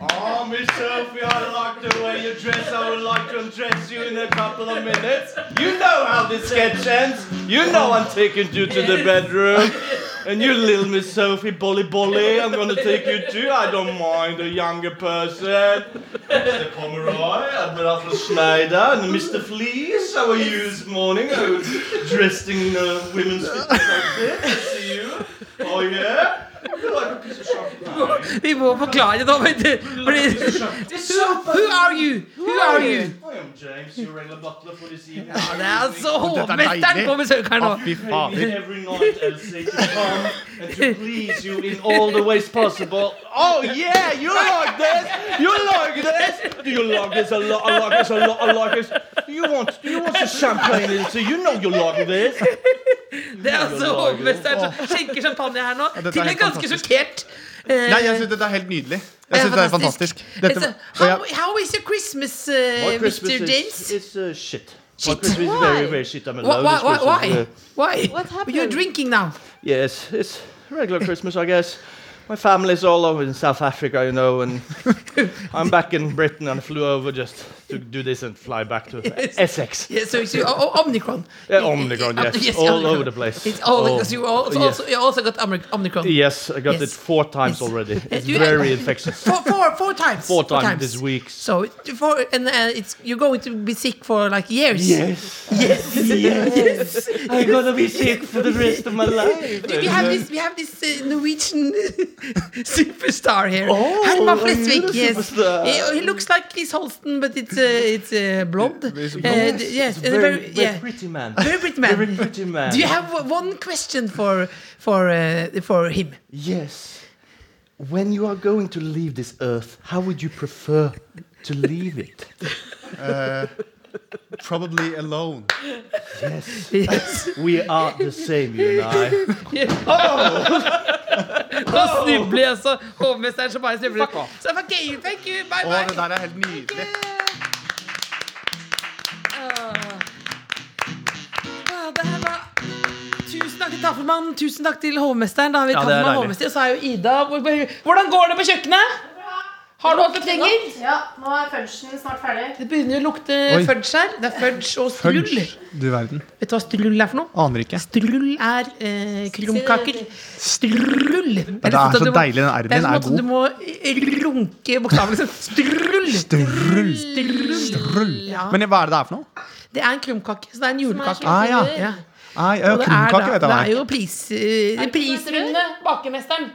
S8: Oh, Miss Sophie, I like the way you dress. I would like to undress you in a couple of minutes. You know how this sketch ends. You know I'm taking you to the bedroom. And you little Miss Sophie, bolly bolly, I'm gonna take you too. I don't mind a younger person. Mr. Pomeroy, Admiral Schneider, er and Mr. Fleece. How are you this morning? I was dressed in uh, women's fitness outfit. I see you. Oh yeah? You're like a piece of chocolate.
S3: Vi må forklare det nå. men det- fordi- Who are you? Who are you?
S8: I am James, your regular butler for this evening.
S3: Ja, det er altså
S6: Dette er
S3: hovmesteren
S6: deilig.
S3: på besøk her nå.
S6: Å, fy
S8: Pay me
S6: fader.
S8: [LAUGHS] every night, Elsie, to come and to please you in all the ways possible. Oh yeah, you like this? You like this? Do you like this a lot? I like this a lot. I like this. Do you want? Do you want some champagne, Elsie? You know you like
S3: Uh,
S8: this.
S3: Det er altså hovmesteren som skjenker champagne her nå.
S6: dette er
S3: Til en
S6: helt
S3: ganske
S6: fantastisk.
S3: sjokkert. eh,
S6: Nei, jeg syns dette er helt nydelig. Jeg synes det er fantastisk. Dette,
S3: Altså,
S6: og
S3: how,
S6: jeg,
S3: how is your Christmas, uh,
S8: My
S3: Mr.
S8: Christmas is,
S3: James?
S8: is uh, shit. My
S3: Shit.
S8: Christmas is very, very shit. I'm
S3: Why?
S8: alone.
S3: Why? Why?
S8: this
S3: why?
S8: Christmas. Uh,
S3: why?
S2: What happened?
S3: You're drinking now.
S8: Yes, it's regular Christmas, I guess. My family's all over in South Africa, you know,
S3: [LAUGHS]
S8: and I'm back in Britain and flew over just to do this and fly back to Essex.
S3: Yes, so, so, oh, oh, Omnicron.
S8: Yeah, Omnicron, yes, all over the place.
S3: Oh, It's all
S8: All-
S3: because you also,
S8: yeah.
S3: also, you also got Omri- Omnicron.
S8: Yes, I got
S3: Yes.
S8: it four times
S3: Yes. [LAUGHS]
S8: already. It's
S3: you-
S8: very infectious.
S3: Four, four, four times.
S8: Four times this week.
S3: So it- four, and uh, it's you're going to be sick for like years. [LAUGHS]
S8: Yes. Yes. yes. I'm gonna be sick for the rest of my life.
S3: We have this. We have this uh, [LAUGHS] Norwegian superstar here.
S8: Oh,
S3: Herman
S8: are you the
S3: Flesvig. Yes,
S8: superstar?
S3: he, he looks like Chris Holsten, but it's uh, it's uh, blonde.
S6: He's
S3: Uh,
S6: blonde.
S3: d- yes,
S8: It's
S3: and a
S8: very,
S3: very,
S8: very
S3: yeah,
S8: pretty man.
S3: very pretty man.
S8: [LAUGHS] Very pretty man.
S3: Do you have o- one question for for uh, for him?
S8: Yes. When you are going to leave this earth, how would you prefer to leave it?
S6: probably alone.
S8: Yes.
S3: Yes.
S8: We are the same, you and I.
S3: Nå snubler jeg, så hovmesteren som bare snubler.
S8: Fuck off.
S3: Så fuck you, thank you, bye
S6: Å, det
S3: bye.
S6: der er helt nydelig.
S3: Ah, det her var Tusen takk til Taffelmann, tusen takk til hovmesteren. Da har vi
S8: Ja, det er
S3: Taffelmann
S8: deilig.
S3: hovmester, og så er jo Ida Hvor- Hvordan går det på kjøkkenet? Har du alt du trenger?
S5: Ja, nå er fudgen snart ferdig.
S3: Det begynner å lukte
S6: Oi.
S3: fudge her. Det er fudge og strull.
S6: Fudge. Du verden.
S3: Vet du hva strull er for noe?
S6: Aner ikke.
S3: Strull er eh, krumkaker. Strull! sånn
S6: Det er så deilig.
S3: Det
S6: Den
S3: er
S6: R-en
S3: som
S6: er
S3: at du
S6: god.
S3: må runke bokstavelig talt. Strull!
S6: Strull.
S3: Strull. Ja.
S6: Men hva er det det er for noe?
S3: Det er en krumkake, så det er en julekake.
S6: Ah, ja.
S3: Ja.
S6: Nei, ja,
S3: Og det er da-
S6: Krumkake, vet jeg hva
S3: Det er
S6: er.
S3: jo pris, eh, prisrunde bakermesteren.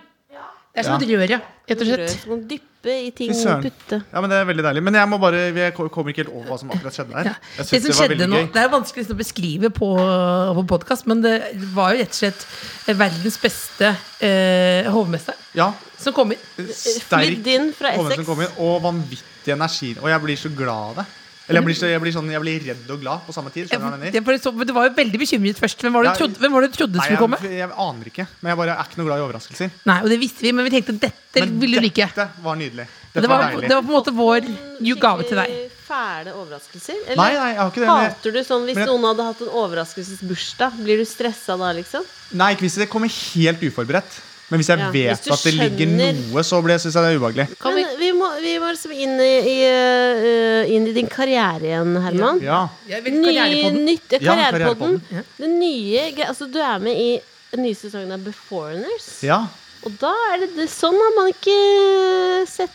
S3: Det er som et rør, ja. Rett og
S2: Brød
S3: slett.
S2: som kan dyppe i ting
S6: Fy
S2: og
S6: søren.
S2: putte.
S6: Ja, men Det er veldig deilig. Men jeg må bare, jeg kommer ikke helt over hva som akkurat skjedde der. Jeg
S3: Det
S6: synes
S3: som
S6: det var
S3: skjedde
S6: veldig
S3: nå,
S6: gøy.
S3: det er vanskelig liksom å beskrive på, på podkast, men det var jo rett og slett eh, verdens beste eh, hovmester
S6: Ja,
S3: som kom inn.
S6: sterk
S2: Flydd inn fra
S6: Hovne som
S2: Essex.
S6: kom inn, og vanvittig energi. Og jeg blir så glad av det. Eller jeg blir, så, jeg, blir sånn, jeg blir redd og glad på samme tid.
S3: Ja,
S6: Skjønner du hva jeg mener?
S3: for det så- men Du var jo veldig bekymret først. Hvem var det du
S6: Ja.
S3: trodde, hvem var det du trodde
S6: Nei,
S3: skulle komme?
S6: jeg, jeg aner ikke, men jeg bare er ikke noe glad i overraskelser.
S3: Nei, og det visste vi, men vi tenkte dette
S6: Men
S3: ville du ikke.
S6: dette var nydelig.
S3: Det
S6: Dette
S3: var,
S6: var deilig.
S3: det var på en måte vår ju- gave til deg.
S2: Skikkelig Fæle overraskelser? Eller
S6: Nei, nei, jeg har ikke det. Men,
S2: hater du sånn hvis
S6: men jeg-
S2: noen hadde hatt en overraskelsesbursdag? Blir du stressa da, liksom?
S6: nei, ikke hvis det kommer helt uforberedt. Men hvis jeg
S2: Ja,
S6: vet
S2: hvis du
S6: at det ligger
S2: skjønner-
S6: noe, så blir- synes jeg det er ubehagelig.
S2: Men vi, må, vi må liksom inn i, i, eh, inn i din karriere igjen, Herman.
S6: Ja.
S2: Nye, nytt, ja,
S6: Ja,
S2: karrierepodden.
S6: karrierepodden.
S2: Det nye, gre- altså, du er med i den nye sesongen av Beforeigners.
S6: ja.
S2: Og da er det, det Sånn har man ikke sett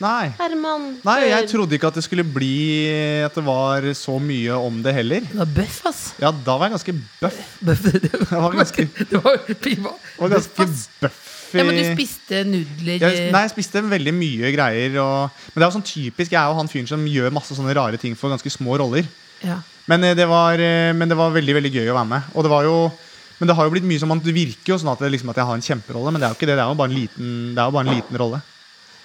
S6: Nei.
S2: Herman.
S6: Nei, jeg
S2: før.
S6: trodde ikke at det skulle bli At det var så mye om det heller.
S3: Du var bøff, ass.
S6: Ja, da var jeg ganske bøff.
S3: Bøff, det
S6: Jeg var ganske,
S3: [LAUGHS] det var jo privat.
S6: var ganske
S3: Bøff, ass.
S6: bøff i
S3: Ja, men du spiste nudler eh,
S6: jeg, nei, jeg spiste veldig mye greier. Og, men det er jo sånn typisk, jeg er jo han fyren som gjør masse sånne rare ting for ganske små roller.
S3: Ja.
S6: Men eh, det var, eh, men det var veldig veldig gøy å være med. Og det var jo, men det har jo blitt mye som at det virker jo sånn at, det, liksom, at jeg har en kjemperolle, men det er jo ikke det. Det er jo bare en liten, det er jo bare en liten rolle.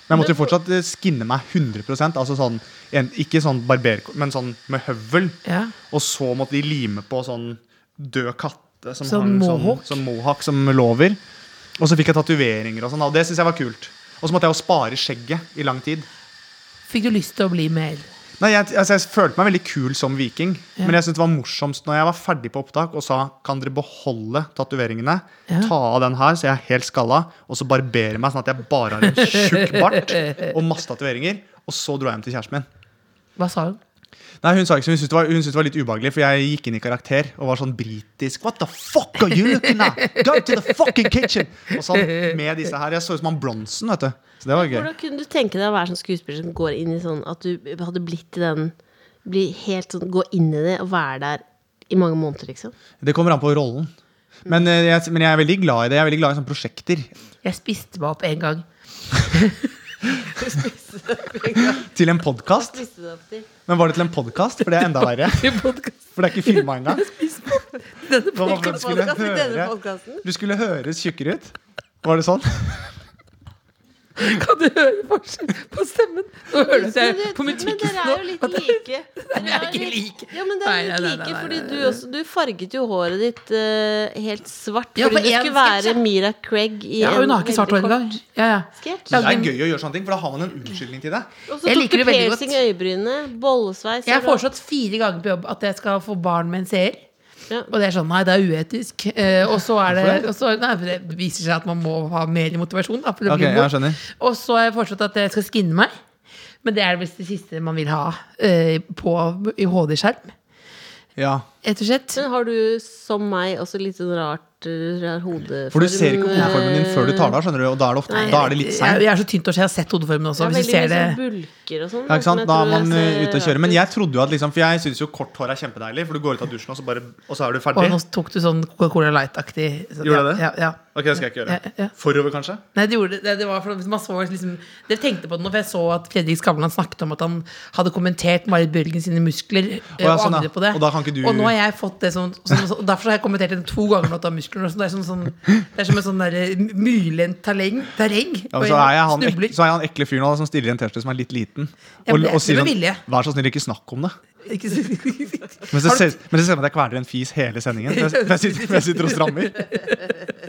S6: Men jeg måtte jo fortsatt eh, skinne meg 100 altså sånn, en, Ikke sånn barber, men sånn med høvel.
S3: Ja.
S6: Og så måtte de lime på sånn død katte som,
S3: Sånn
S6: hang,
S3: mohawk?
S6: Sånn, sånn mohawk som lover. Og så fikk jeg tatoveringer og sånn. Og det syns jeg var kult. Og så måtte jeg jo spare skjegget i lang tid.
S3: Fikk du lyst til å bli med L?
S6: Nei, jeg, altså, jeg følte meg veldig kul som viking, men jeg syntes det var morsomst når jeg var ferdig på opptak og sa kan dere beholde tatoveringene,
S3: Ja.
S6: ta av den her så jeg er helt skalla, og så barbere meg sånn at jeg bare har en tjukk bart
S3: [LAUGHS]
S6: og masse tatoveringer. Og så dro jeg hjem til kjæresten min.
S3: Hva sa hun?
S6: Nei, Hun sa ikke så, hun syntes det var, hun syntes det var litt ubehagelig, for jeg gikk inn i karakter og var sånn britisk. What the fuck are you looking at? Go to the fucking kitchen! Og sånn med disse her. Jeg så ut som han Bronsen, vet du. Så det var gøy.
S2: Hvordan kunne du tenke deg å være sånn skuespiller som går inn i sånn At du hadde blitt i den bli helt sånn, Gå inn i det og være der i mange måneder, liksom?
S6: Det kommer an på rollen. Men, eh, jeg, men jeg er veldig glad i det. Jeg er veldig glad i sånne prosjekter.
S3: Jeg spiste meg opp en gang.
S6: Til en podkast?
S2: Spiste det opp til.
S6: Men var det til en podkast? For det er enda
S2: [LAUGHS]
S6: verre. For det er ikke filma engang. Hva var det du
S2: Podcast
S6: skulle
S2: i denne
S6: høre?
S2: podcasten.
S6: Du skulle høres tjukkere ut? Var det sånn?
S3: [LAUGHS] Kan du høre forskjell på stemmen? Nå høres jeg på
S2: Men
S3: musikken
S2: dere
S3: nå.
S2: er jo
S3: [LAUGHS]
S2: litt like.
S3: Dere er ikke like.
S2: Ja, men det er
S3: Nei,
S2: litt
S3: nei, nei,
S2: like,
S3: nei,
S2: fordi
S3: nei,
S2: du, også, du farget jo håret ditt eh, helt svart.
S3: Ja,
S2: fordi
S3: for
S2: du
S3: en
S2: skulle
S3: sketsj,
S2: være Mira Craig i
S3: Ja,
S2: en
S3: hun har ikke svart hår
S2: veldig kort
S3: engang. Ja, ja.
S2: sketsj.
S6: Det er gøy å gjøre sånne ting, for da har man en unnskyldning til det.
S2: Og så
S3: Jeg
S2: tok
S3: liker
S2: du
S3: det veldig
S2: piercing i
S3: godt.
S2: øyebrynene, bollesveis
S3: Jeg har
S2: og bra.
S3: foreslått fire ganger på jobb at jeg skal få barn med en seer.
S2: Ja.
S3: Og det er sånn, nei, det er uetisk. Eh, og så er det, og så, nei, for det viser seg at man må ha mer motivasjon. Da, for å
S6: Ok,
S3: bli
S6: jeg
S3: mor.
S6: skjønner
S3: Og så har jeg foreslått at jeg skal skinne meg. Men det er visst det siste man vil ha eh, på, i HD-skjerm.
S6: ja.
S3: Rett og slett.
S2: Men har du, som meg, også litt sånn rart eh, rar hodeform?
S6: For du ser ikke hodeformen din før du tar det av, skjønner du. Og da er det, ofte, da er det litt
S3: jeg,
S6: seint.
S3: jeg er så tynt år, så jeg har sett hodeformen
S2: Det
S3: også.
S2: er
S3: Hvis
S2: veldig
S3: du ser det
S2: mye sånn bulker og sånn.
S6: Ja, ikke
S2: som
S6: sant?
S2: jeg
S6: Da er
S2: tror
S6: man
S2: ser
S6: eh, ute og
S2: rart
S6: kjører. Men
S2: ut.
S6: jeg trodde jo at liksom For jeg syns jo kort hår er kjempedeilig, for du går ut av dusjen, og så, bare, og så er du
S3: Og
S6: ferdig.
S3: nå tok du sånn Coca-Cola Light-aktig. Så-
S6: Gjorde jeg det?
S3: Ja, ja.
S6: Ok, det skal jeg ikke
S3: Ja, ja.
S6: gjøre. Forover, kanskje?
S3: Nei, det gjorde det. det var for man så liksom, Dere tenkte på det nå, for jeg så at Fredrik Skavlan snakket om at han hadde kommentert Marit Bjørgen sine muskler. eh,
S6: ja,
S3: og
S6: sånn, ja.
S3: angret på det.
S6: Og da kan ikke du-
S3: Og nå har jeg fått det sånn, sånn, sånn og Derfor har jeg kommentert det to ganger. At du har muskler, og sånn, det, er sånn, sånn, det er som en sånn der, eh, myrlendt terreng. terreng
S6: Ja,
S3: og
S6: men så, er jeg han, ek-
S3: snubler.
S6: så er jeg han ekle fyren nå, da, som stirrer i en T-skjorte som er litt liten.
S3: Ja, men
S6: Og,
S3: det er
S6: og
S3: ikke
S6: sier
S3: med
S6: sånn
S3: vilje.
S6: Vær så snill, ikke snakk om det.
S3: Ikke så- [LAUGHS]
S6: Men så ser men så ser man at jeg kveler en fis hele sendingen. For jeg, for jeg, sitter, for jeg sitter og strammer.
S3: [LAUGHS]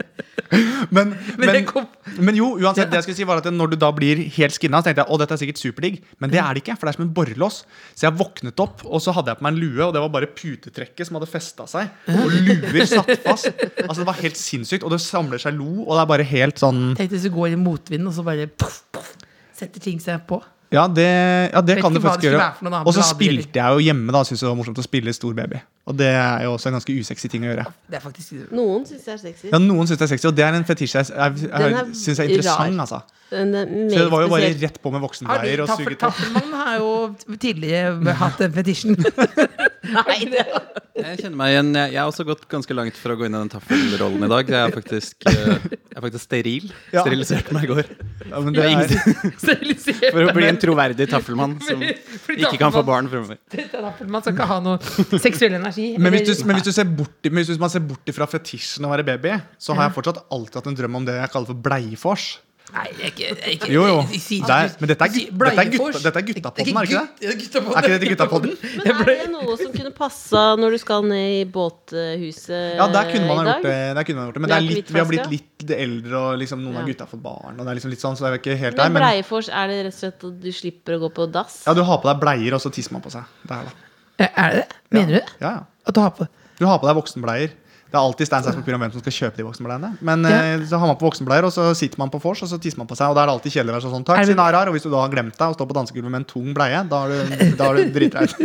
S6: Men,
S3: Men
S6: men,
S3: jeg kom-
S6: men jo, uansett, det jeg skulle si var at når du da blir helt skinna, så tenkte jeg å, dette er sikkert superdigg. Men det
S3: Mm.
S6: er det ikke, for det er som en borrelås. Så jeg våknet opp, og så hadde jeg på meg en lue, og det var bare putetrekket som hadde festa seg. Og luer satt
S3: [LAUGHS]
S6: fast. Altså Det var helt sinnssykt. Og det samler seg lo, og det er bare helt sånn
S3: Tenk hvis du går i motvind, og så bare puff, puff, setter ting seg på.
S6: Ja, det, ja, det
S3: Vet
S6: kan
S3: ikke hva
S6: du
S3: det
S6: faktisk
S3: skulle
S6: gjøre.
S3: være for noen andre
S6: Og så
S3: blader, eller?
S6: spilte jeg jo hjemme, da. Syns det var morsomt å spille stor baby. Og det er jo også en ganske usexy ting å gjøre.
S3: Det er faktisk
S2: Noen syns jeg er sexy.
S6: Ja, Noen syns det er sexy, og det er en fetisj jeg, jeg, jeg,
S2: Den er
S6: syns er
S2: rar.
S6: interessant, altså.
S2: Den er eh, meget
S6: Så det var jo bare
S2: spesiell.
S6: rett på med
S3: Har
S6: voksenbleier
S3: du,
S6: og
S3: Taffel,
S6: suget opp.
S3: Taffelmann har jo tidligere hatt den fetisjen. [LAUGHS] Nei, det
S4: Jeg kjenner meg igjen. Jeg jeg har også gått ganske langt for å gå inn i den taffelrollen i dag. Jeg er faktisk, eh, jeg er faktisk steril.
S6: Ja.
S4: Steriliserte meg i går.
S6: Ja, men det er,
S3: sterilisert.
S4: For å bli en troverdig taffelmann
S3: [LAUGHS]
S4: som
S3: Fordi
S4: ikke kan få
S3: Taffelmann-
S4: barn fremover.
S3: [LAUGHS] Man skal ikke ha noe seksuell energi.
S6: [LAUGHS] [LAUGHS] men hvis, du,
S3: Eller-
S6: men, hvis du ser bort, men hvis man ser bort ifra fetisjen å være baby, så har jeg fortsatt alltid hatt en drøm om det jeg kaller for bleiefors.
S3: Nei, jeg, er ikke- jeg, er ikke-
S6: Jo, jo.
S3: jeg sier-
S6: Det er- men dette er
S3: jeg sier
S6: gutt- dette er gutta-
S3: bleiefors.
S6: dette er guttapodden, er det ikke
S3: det? guttapodden.
S6: Er ikke dette
S2: [LAUGHS]
S6: guttapodden?
S2: Men er det noe som kunne passa når du skal ned i båthuset eh,
S6: Ja, der kunne
S2: i
S6: man ha gjort
S2: dag?
S6: det. Der kunne man ha gjort det. Men
S2: Det er
S6: det er
S2: ikke
S6: litt, vi har
S2: hvitvask,
S6: blitt litt eldre, og liksom, noen av
S2: Ja.
S6: gutta har fått barn. Og det er liksom litt sånn, så det er jo ikke helt der.
S2: Men
S6: Men
S2: Bleiefors, er det rett og slett at du slipper å gå på dass?
S6: ja, du har på deg bleier, og så tisser man på seg. Det er, det.
S3: Er det det? Mener du det?
S6: Ja, ja.
S3: At du har på
S6: Du har på deg voksenbleier. Det er alltid stein, saks, papir om hvem som skal kjøpe de voksenbleiene. Men
S3: Ja.
S6: eh, så har man på voksenbleier, og så sitter man på vors, og så tisser man på seg. Og da er det alltid kjedeligere sånn, takk,
S3: Er det-
S6: sinarar. Og hvis du da har glemt deg og står på dansegulvet med en tung bleie, da har du, da har du driti
S3: [LAUGHS]
S6: deg ut.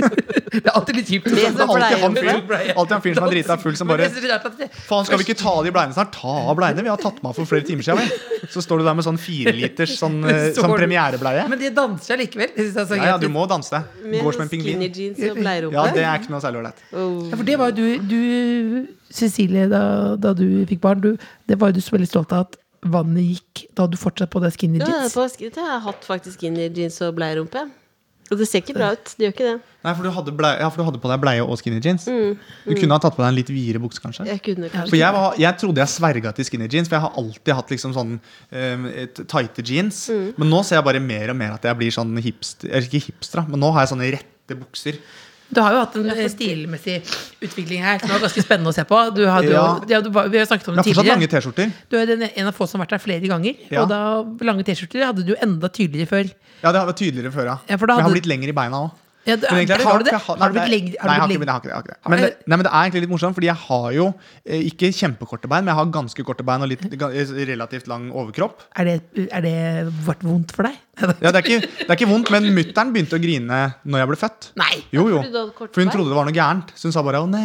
S3: Det er alltid litt kjipt.
S6: Det er alltid han
S3: Bleie.
S6: fyren alltid han fyren som har driti seg full, som
S3: Men
S6: bare
S3: jeg synes det er rart at det-
S6: Faen, skal vi ikke ta av de bleiene snart? Ta av bleiene. Vi har tatt dem av for flere timer siden. vel? Så står du der med sånn fireliters sånn,
S3: [LAUGHS]
S6: eh,
S3: Så
S6: sånn
S3: går du-
S6: premierebleie.
S3: Men de danser likevel. Det synes jeg er så
S6: Ja, ja,
S3: greit.
S6: du må danse.
S2: Med
S6: Går som en
S2: skinny
S6: pingvin.
S2: jeans og
S6: Ja,
S2: bleierumpe?
S6: det er ikke noe særlig ålreit.
S2: Oh.
S3: Ja, for det var jo du, du Cecilie, da, da du fikk barn, du, det var jo du så veldig stolt av at vannet gikk da du fortsatt på deg skinny
S2: Ja,
S3: jeans.
S2: på skrittet har jeg hatt faktisk skinny jeans og bleierumpe. Og det ser ikke bra ut. Det gjør ikke det.
S6: Nei, for du hadde, bleie, ja, for du hadde på deg bleie og skinny jeans.
S2: Mm.
S6: Du kunne ha tatt på deg en litt videre bukse, kanskje.
S2: Jeg kunne
S6: For
S2: kanskje
S6: jeg, var, jeg trodde jeg sverga til skinny jeans, for jeg har alltid hatt liksom sånn um, tighte jeans.
S3: Mm.
S6: Men nå ser jeg bare mer og mer at jeg blir sånn hipster eller Ikke hipster, da, men nå har jeg sånne rette bukser.
S3: Du har jo hatt en eh, stilmessig utvikling her som er ganske spennende å se på. Du hadde,
S6: Ja.
S3: jo- ja, du, var- vi har jo snakket om
S6: Jeg
S3: det
S6: har fortsatt lange
S3: tidligere.
S6: T-skjorter.
S3: Du er den, en av få som har vært der flere ganger.
S6: Ja.
S3: Og da lange T-skjorter hadde du enda tydeligere før.
S6: Ja, det var tydeligere før, ja.
S3: Ja, for da
S6: Men
S3: hadde-
S6: jeg har blitt lengre i beina òg.
S3: Ja, du,
S6: Men egentlig er det
S3: har
S6: rart,
S3: du det?
S6: for jeg
S3: Har du
S6: nei,
S3: blitt
S6: det er-
S3: lengre?
S6: Nei, jeg
S3: Har du blitt
S6: har ikke men jeg
S3: lengre?
S6: har ikke det. Jeg har ikke det. Men, det- nei, men det er egentlig litt morsomt, Fordi jeg har jo eh, ikke kjempekorte bein, men jeg har ganske korte bein og litt ga- eh, relativt lang overkropp.
S3: Er det, er det vært vondt for deg? [LAUGHS]
S6: Ja, det, er ikke, det er ikke vondt, men mutter'n begynte å grine når jeg ble født.
S3: Nei.
S6: Jo, jo.
S2: Fordi du hadde korte
S6: For hun
S2: bein?
S6: trodde det var noe gærent. Så hun sa bare 'å nei'.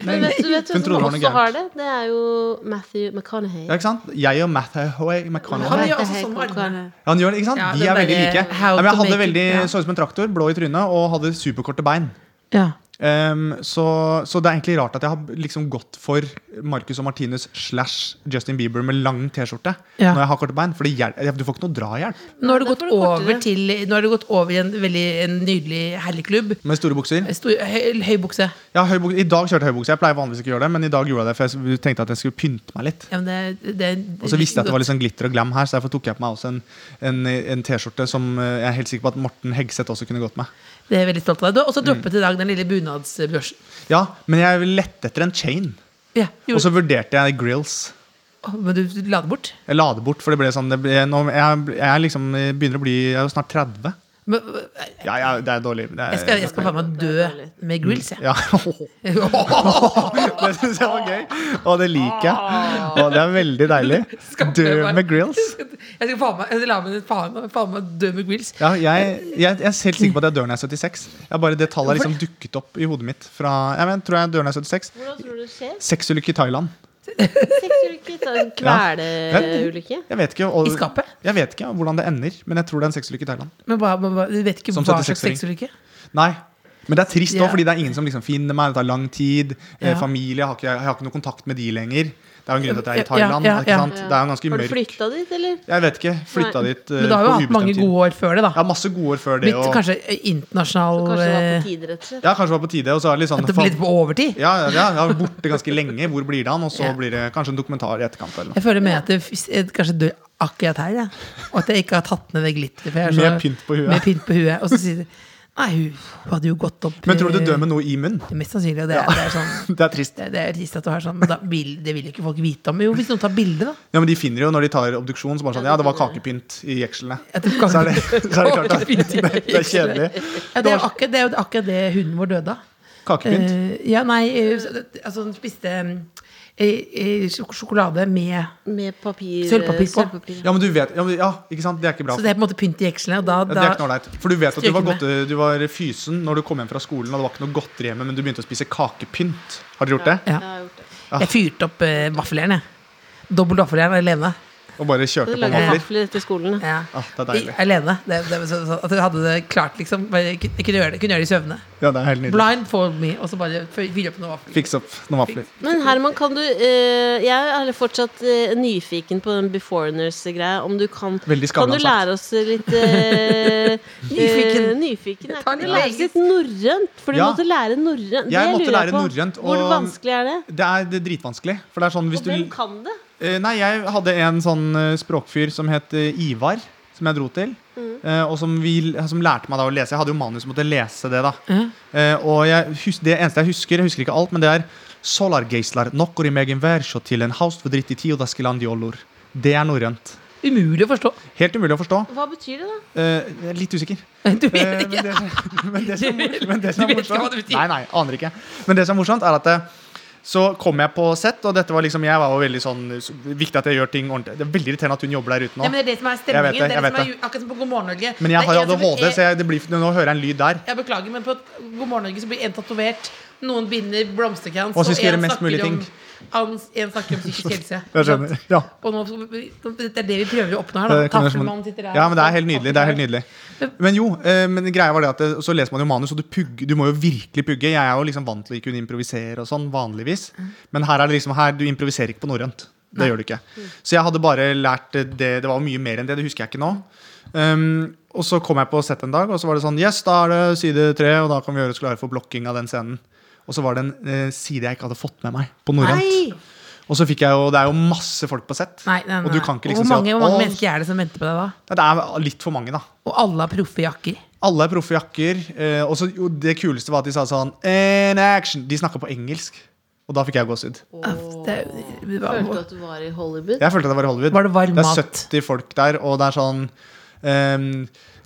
S6: nei.
S2: Men vet du vet du
S6: hun
S2: hvem
S6: trodde det
S2: som
S6: var noe
S2: også
S6: gærent.
S2: har det? Det er jo Matthew McConaughey.
S6: Ja, ikke sant? Jeg og Matt Hathaway
S3: Han
S6: McConaughey.
S3: gjør også
S2: Matthew
S3: sånn med
S2: McConaughey.
S3: armene.
S6: Ja, han gjør det, ikke sant?
S3: Ja,
S6: De
S3: den
S6: er veldig
S3: derre
S6: like.
S3: How to
S6: Nei, men jeg
S3: make
S6: hadde
S3: it,
S6: veldig
S3: ja.
S6: så ut som en traktor, blå i trynet og hadde superkorte bein.
S3: Ja.
S6: Ehm, så, så det er egentlig rart at jeg har liksom gått for Marcus og Martinus slash Justin Bieber med lang T-skjorte
S3: Ja.
S6: når jeg har korte bein. For det hjel- du får ikke noe drahjelp
S3: Nå har du
S2: Nei,
S3: gått
S2: derfor er det
S3: over
S2: kortere.
S3: til Nå har du gått over i en veldig en nydelig herligklubb.
S6: med store bukser.
S3: Stor, høy, høy bukse.
S6: Ja, høy bukse. I dag kjørte jeg høybukse. Jeg pleier vanligvis ikke å gjøre det, men i dag gjorde jeg det, for jeg tenkte at jeg skulle pynte meg litt.
S3: Ja, men det, det,
S6: Og så visste jeg at det var litt sånn glitter og glam her, så derfor tok jeg på meg også en, en, en T-skjorte som eh, jeg er helt sikker på at Morten Hegseth også kunne gått med.
S3: Det er jeg veldig stolt av deg. Du har
S6: Mm.
S3: også droppet i dag den lille bunadsbrosjen.
S6: Ja, men jeg lette etter en chain.
S3: Ja, gjorde-
S6: Og så vurderte jeg grills.
S3: Å, Men du la det bort.
S6: Jeg la det bort, for det ble sånn det ble, nå, jeg, jeg er liksom jeg begynner å bli Jeg er jo snart 30.
S3: Men, øh,
S6: Ja, ja, det er dårlig. Det er,
S3: jeg skal, jeg skal faen meg dø med grills, jeg.
S6: ja. [LAUGHS] det syns jeg var gøy. Og det liker jeg. Og det er veldig deilig.
S3: Skal
S6: Dø
S3: jeg bare-
S6: med grills.
S3: Jeg skal faen meg, jeg skal la meg faen meg, faen meg dø med grills.
S6: Ja, jeg, jeg, jeg er helt sikker på at jeg dør når jeg er 76. Jeg bare, det tallet har liksom dukket opp i hodet mitt fra jeg men, tror jeg dør når jeg er 76.
S2: Hvordan tror du det skjer?
S6: Sexulykke i Thailand.
S2: Sexulykke? ta en Kveleulykke?
S6: Jeg vet ikke, og,
S3: I skapet?
S6: jeg vet ikke hvordan det ender, men jeg tror det er en sexulykke i Thailand.
S3: Men hva, hva, hva, du vet ikke
S6: Som
S3: hva slags
S6: 76-åring.
S3: sexulykke?
S6: Nei. Men det er trist òg,
S3: Ja.
S6: fordi det er ingen som liksom finner meg. Det tar lang tid. Eh,
S3: Ja.
S6: Familie. Jeg har, ikke, jeg har ikke noe kontakt med de lenger. Det er jo en grunn til at jeg er i
S3: Ja, ja,
S6: Thailand.
S3: ja,
S6: ikke
S3: ja.
S6: sant? Det er jo en ganske
S2: Har du
S6: mørk
S2: flytta dit, eller?
S6: Jeg vet ikke. Flytta dit eh,
S3: Men du har jo
S6: på
S3: hatt mange
S6: ubestemt tid.
S3: gode år før det,
S6: Jeg
S3: da.
S6: har masse gode år før det.
S3: Blitt
S6: Og,
S3: kanskje internasjonal
S2: Så kanskje det var på
S3: eh,
S2: tide, rett og slett?
S6: ja, kanskje det var på tide. Og så er det litt sånn
S3: At det blir litt på overtid.
S6: Ja, ja, ja, jeg var borte ganske lenge. Hvor blir det han? Og så
S3: Ja.
S6: blir det kanskje en dokumentar i etterkant. Eller noe.
S3: Jeg føler med at jeg, f- jeg kanskje dør akkurat her, jeg. og at jeg ikke har tatt ned det glitteret. for jeg er så-
S6: Med pynt på huet.
S3: Med pynt på huet. Og så sier de Nei, hun hadde jo gått opp
S6: Men tror du du dør
S3: eh,
S6: med noe i munnen?
S3: det er Mest sannsynlig. Og det, er- det er sånn
S6: Det er trist.
S3: det, er- det er trist at du har sånn, men da vil, det vil jo ikke folk vite om. Jo, hvis noen tar bilde, da.
S6: Ja, men De finner jo når de tar obduksjon, så bare sånn Ja, det var kakepynt i jekslene.
S3: At det kan-
S6: Så er det, så er det klart at [LAUGHS] det, det er kjedelig.
S3: Ja, det, er jo akkurat, det er jo akkurat det hunden vår døde av.
S6: Kakepynt.
S3: Eh, ja, nei, eh, så det- altså hun spiste eh, eh, sjok- sjokolade med
S2: Med papir
S3: Sølvpapir på.
S2: sølvpapir.
S6: Ja, men du vet ja, men, ja, ikke sant? Det er ikke bra.
S3: Så det er på en måte pynt i jekslene. Og da,
S6: Ja, det er ikke
S3: da,
S6: noe ålreit. For du vet at du var,
S3: Stryker med.
S6: godte- du var fysen når du kom hjem fra skolen, og det var ikke noe godteri hjemme, men du begynte å spise kakepynt. Har dere gjort det?
S3: ja. Jeg fyrte opp eh, vaffeljern, jeg. Dobbelt vaffeljern alene.
S6: Og bare kjørte
S2: Du
S6: på
S2: lager
S6: vafler?
S2: vafler til skolen. da.
S3: Ja.
S6: Ah, det er deilig.
S3: I- Alene. Det, det, var så, så, at jeg hadde det klart, liksom. Bare, jeg kunne, jeg kunne gjøre det, kunne gjøre det i søvne.
S6: Ja, det er helt nydelig.
S3: Blind for me, og så bare fy- fyre opp noen vafler.
S6: Fiks opp noen vafler.
S2: Men Herman, kan du eh, Jeg er fortsatt eh, nyfiken på den beforeigners-greia. Om du kan
S6: Veldig
S2: Kan du
S6: Skavlan-sagt.
S2: lære oss litt eh,
S3: [LAUGHS] Nyfiken.
S2: eh, nyfiken ja.
S3: tar
S2: Kan
S3: litt
S2: du lære oss litt norrønt, for du
S6: Ja.
S2: måtte lære norrønt. Det
S6: Jeg måtte
S2: lurer
S6: lære
S2: på.
S6: norrønt, og-
S2: Hvor vanskelig er det?
S6: Det er det er dritvanskelig. For det er sånn hvis
S2: Og
S6: du
S2: hvem kan det?
S6: Eh, Nei, jeg hadde en sånn eh, språkfyr som het eh, Ivar, som jeg dro til. eh, Og som, vi, som lærte meg da å lese. Jeg hadde jo manus, måtte lese det, da. Eh, Og jeg, hus- det eneste jeg husker, jeg husker ikke alt, men det er Solargeislar nokkor i megen værsjå til en haust for dritt i tid og daskeland jollor. Det er norrønt.
S3: Umulig å forstå. [LAUGHS]
S6: Helt umulig å forstå.
S2: Hva betyr det, da?
S6: Eh, jeg er litt usikker.
S3: Du vet
S6: Eh,
S3: ikke.
S6: Men det, [LAUGHS] men det som,
S3: [LAUGHS]
S6: men det
S3: Du
S6: som er
S3: vet ikke hva
S6: morsomt
S3: det betyr.
S6: Nei, nei, aner ikke. Men det som er morsomt, er at eh, så kom jeg på sett, og dette var liksom, jeg var jo veldig sånn så- Viktig at jeg gjør ting ordentlig. Det er veldig irriterende at hun jobber der ute nå.
S3: Ja, men det er det som er
S6: Jeg vet
S3: stemningen.
S6: det,
S3: Det, er
S6: jeg
S3: det
S6: vet
S3: som er, ju- akkurat som på God morgen Norge.
S6: Men
S3: Det
S6: jeg
S3: er
S6: har jo
S3: en som-
S6: ADHD,
S3: eh,
S6: så jeg, det blir, nå hører jeg en lyd der.
S3: Jeg beklager, men på God morgen Norge så blir en tatovert. Noen binder blomsterkrans.
S6: Og så
S3: en
S6: skal gjøre mest
S3: snakker
S6: mulig
S3: om-
S6: ting.
S3: han- En snakker om
S6: [LAUGHS]
S3: psykisk helse.
S6: Jeg skjønner.
S3: Sant?
S6: Ja.
S3: Og nå, det er det vi prøver å oppnå her. da
S6: Det Eh, kan være som-
S3: Taffelmannen sitter der.
S6: ja, men det er helt nydelig. det er helt nydelig Men jo, eh, men greia var det at eh, så leser man jo manus, og du, pugg, du må jo virkelig pugge. Jeg er jo liksom vant til å kunne improvisere og sånn, vanligvis. Men her er det liksom her, du improviserer ikke på norrønt. Det gjør du ikke. Så jeg hadde bare lært eh, det. Det var jo mye mer enn det, det husker jeg ikke nå. Um, og så kom jeg på sett en dag, og så var det sånn Yes, da er det side tre, og da kan vi gjøre oss klare for blokking av den scenen. Og så var det en eh, side jeg ikke hadde fått med meg på norrønt. Og så fikk jeg jo, det er jo masse folk på sett.
S3: Nei, nei, nei.
S6: Og du kan ikke liksom
S3: hvor
S6: si at,
S3: mange, hvor mange
S6: «Å,
S3: mennesker er det som venter på deg da?
S6: Nei, Det er litt for mange, da.
S3: Og alle har proffe jakker.
S6: Alle er proffe jakker. eh, Og så jo, det kuleste var at de sa sånn In action! De snakka på engelsk. Og da fikk jeg gåsehud.
S3: Det, det
S2: Følte du
S3: var,
S2: at du var i Hollywood?
S6: Jeg følte at det var i Hollywood.
S3: Var det varm
S6: det er
S3: mat?
S6: 70 folk der, og det er sånn ehm,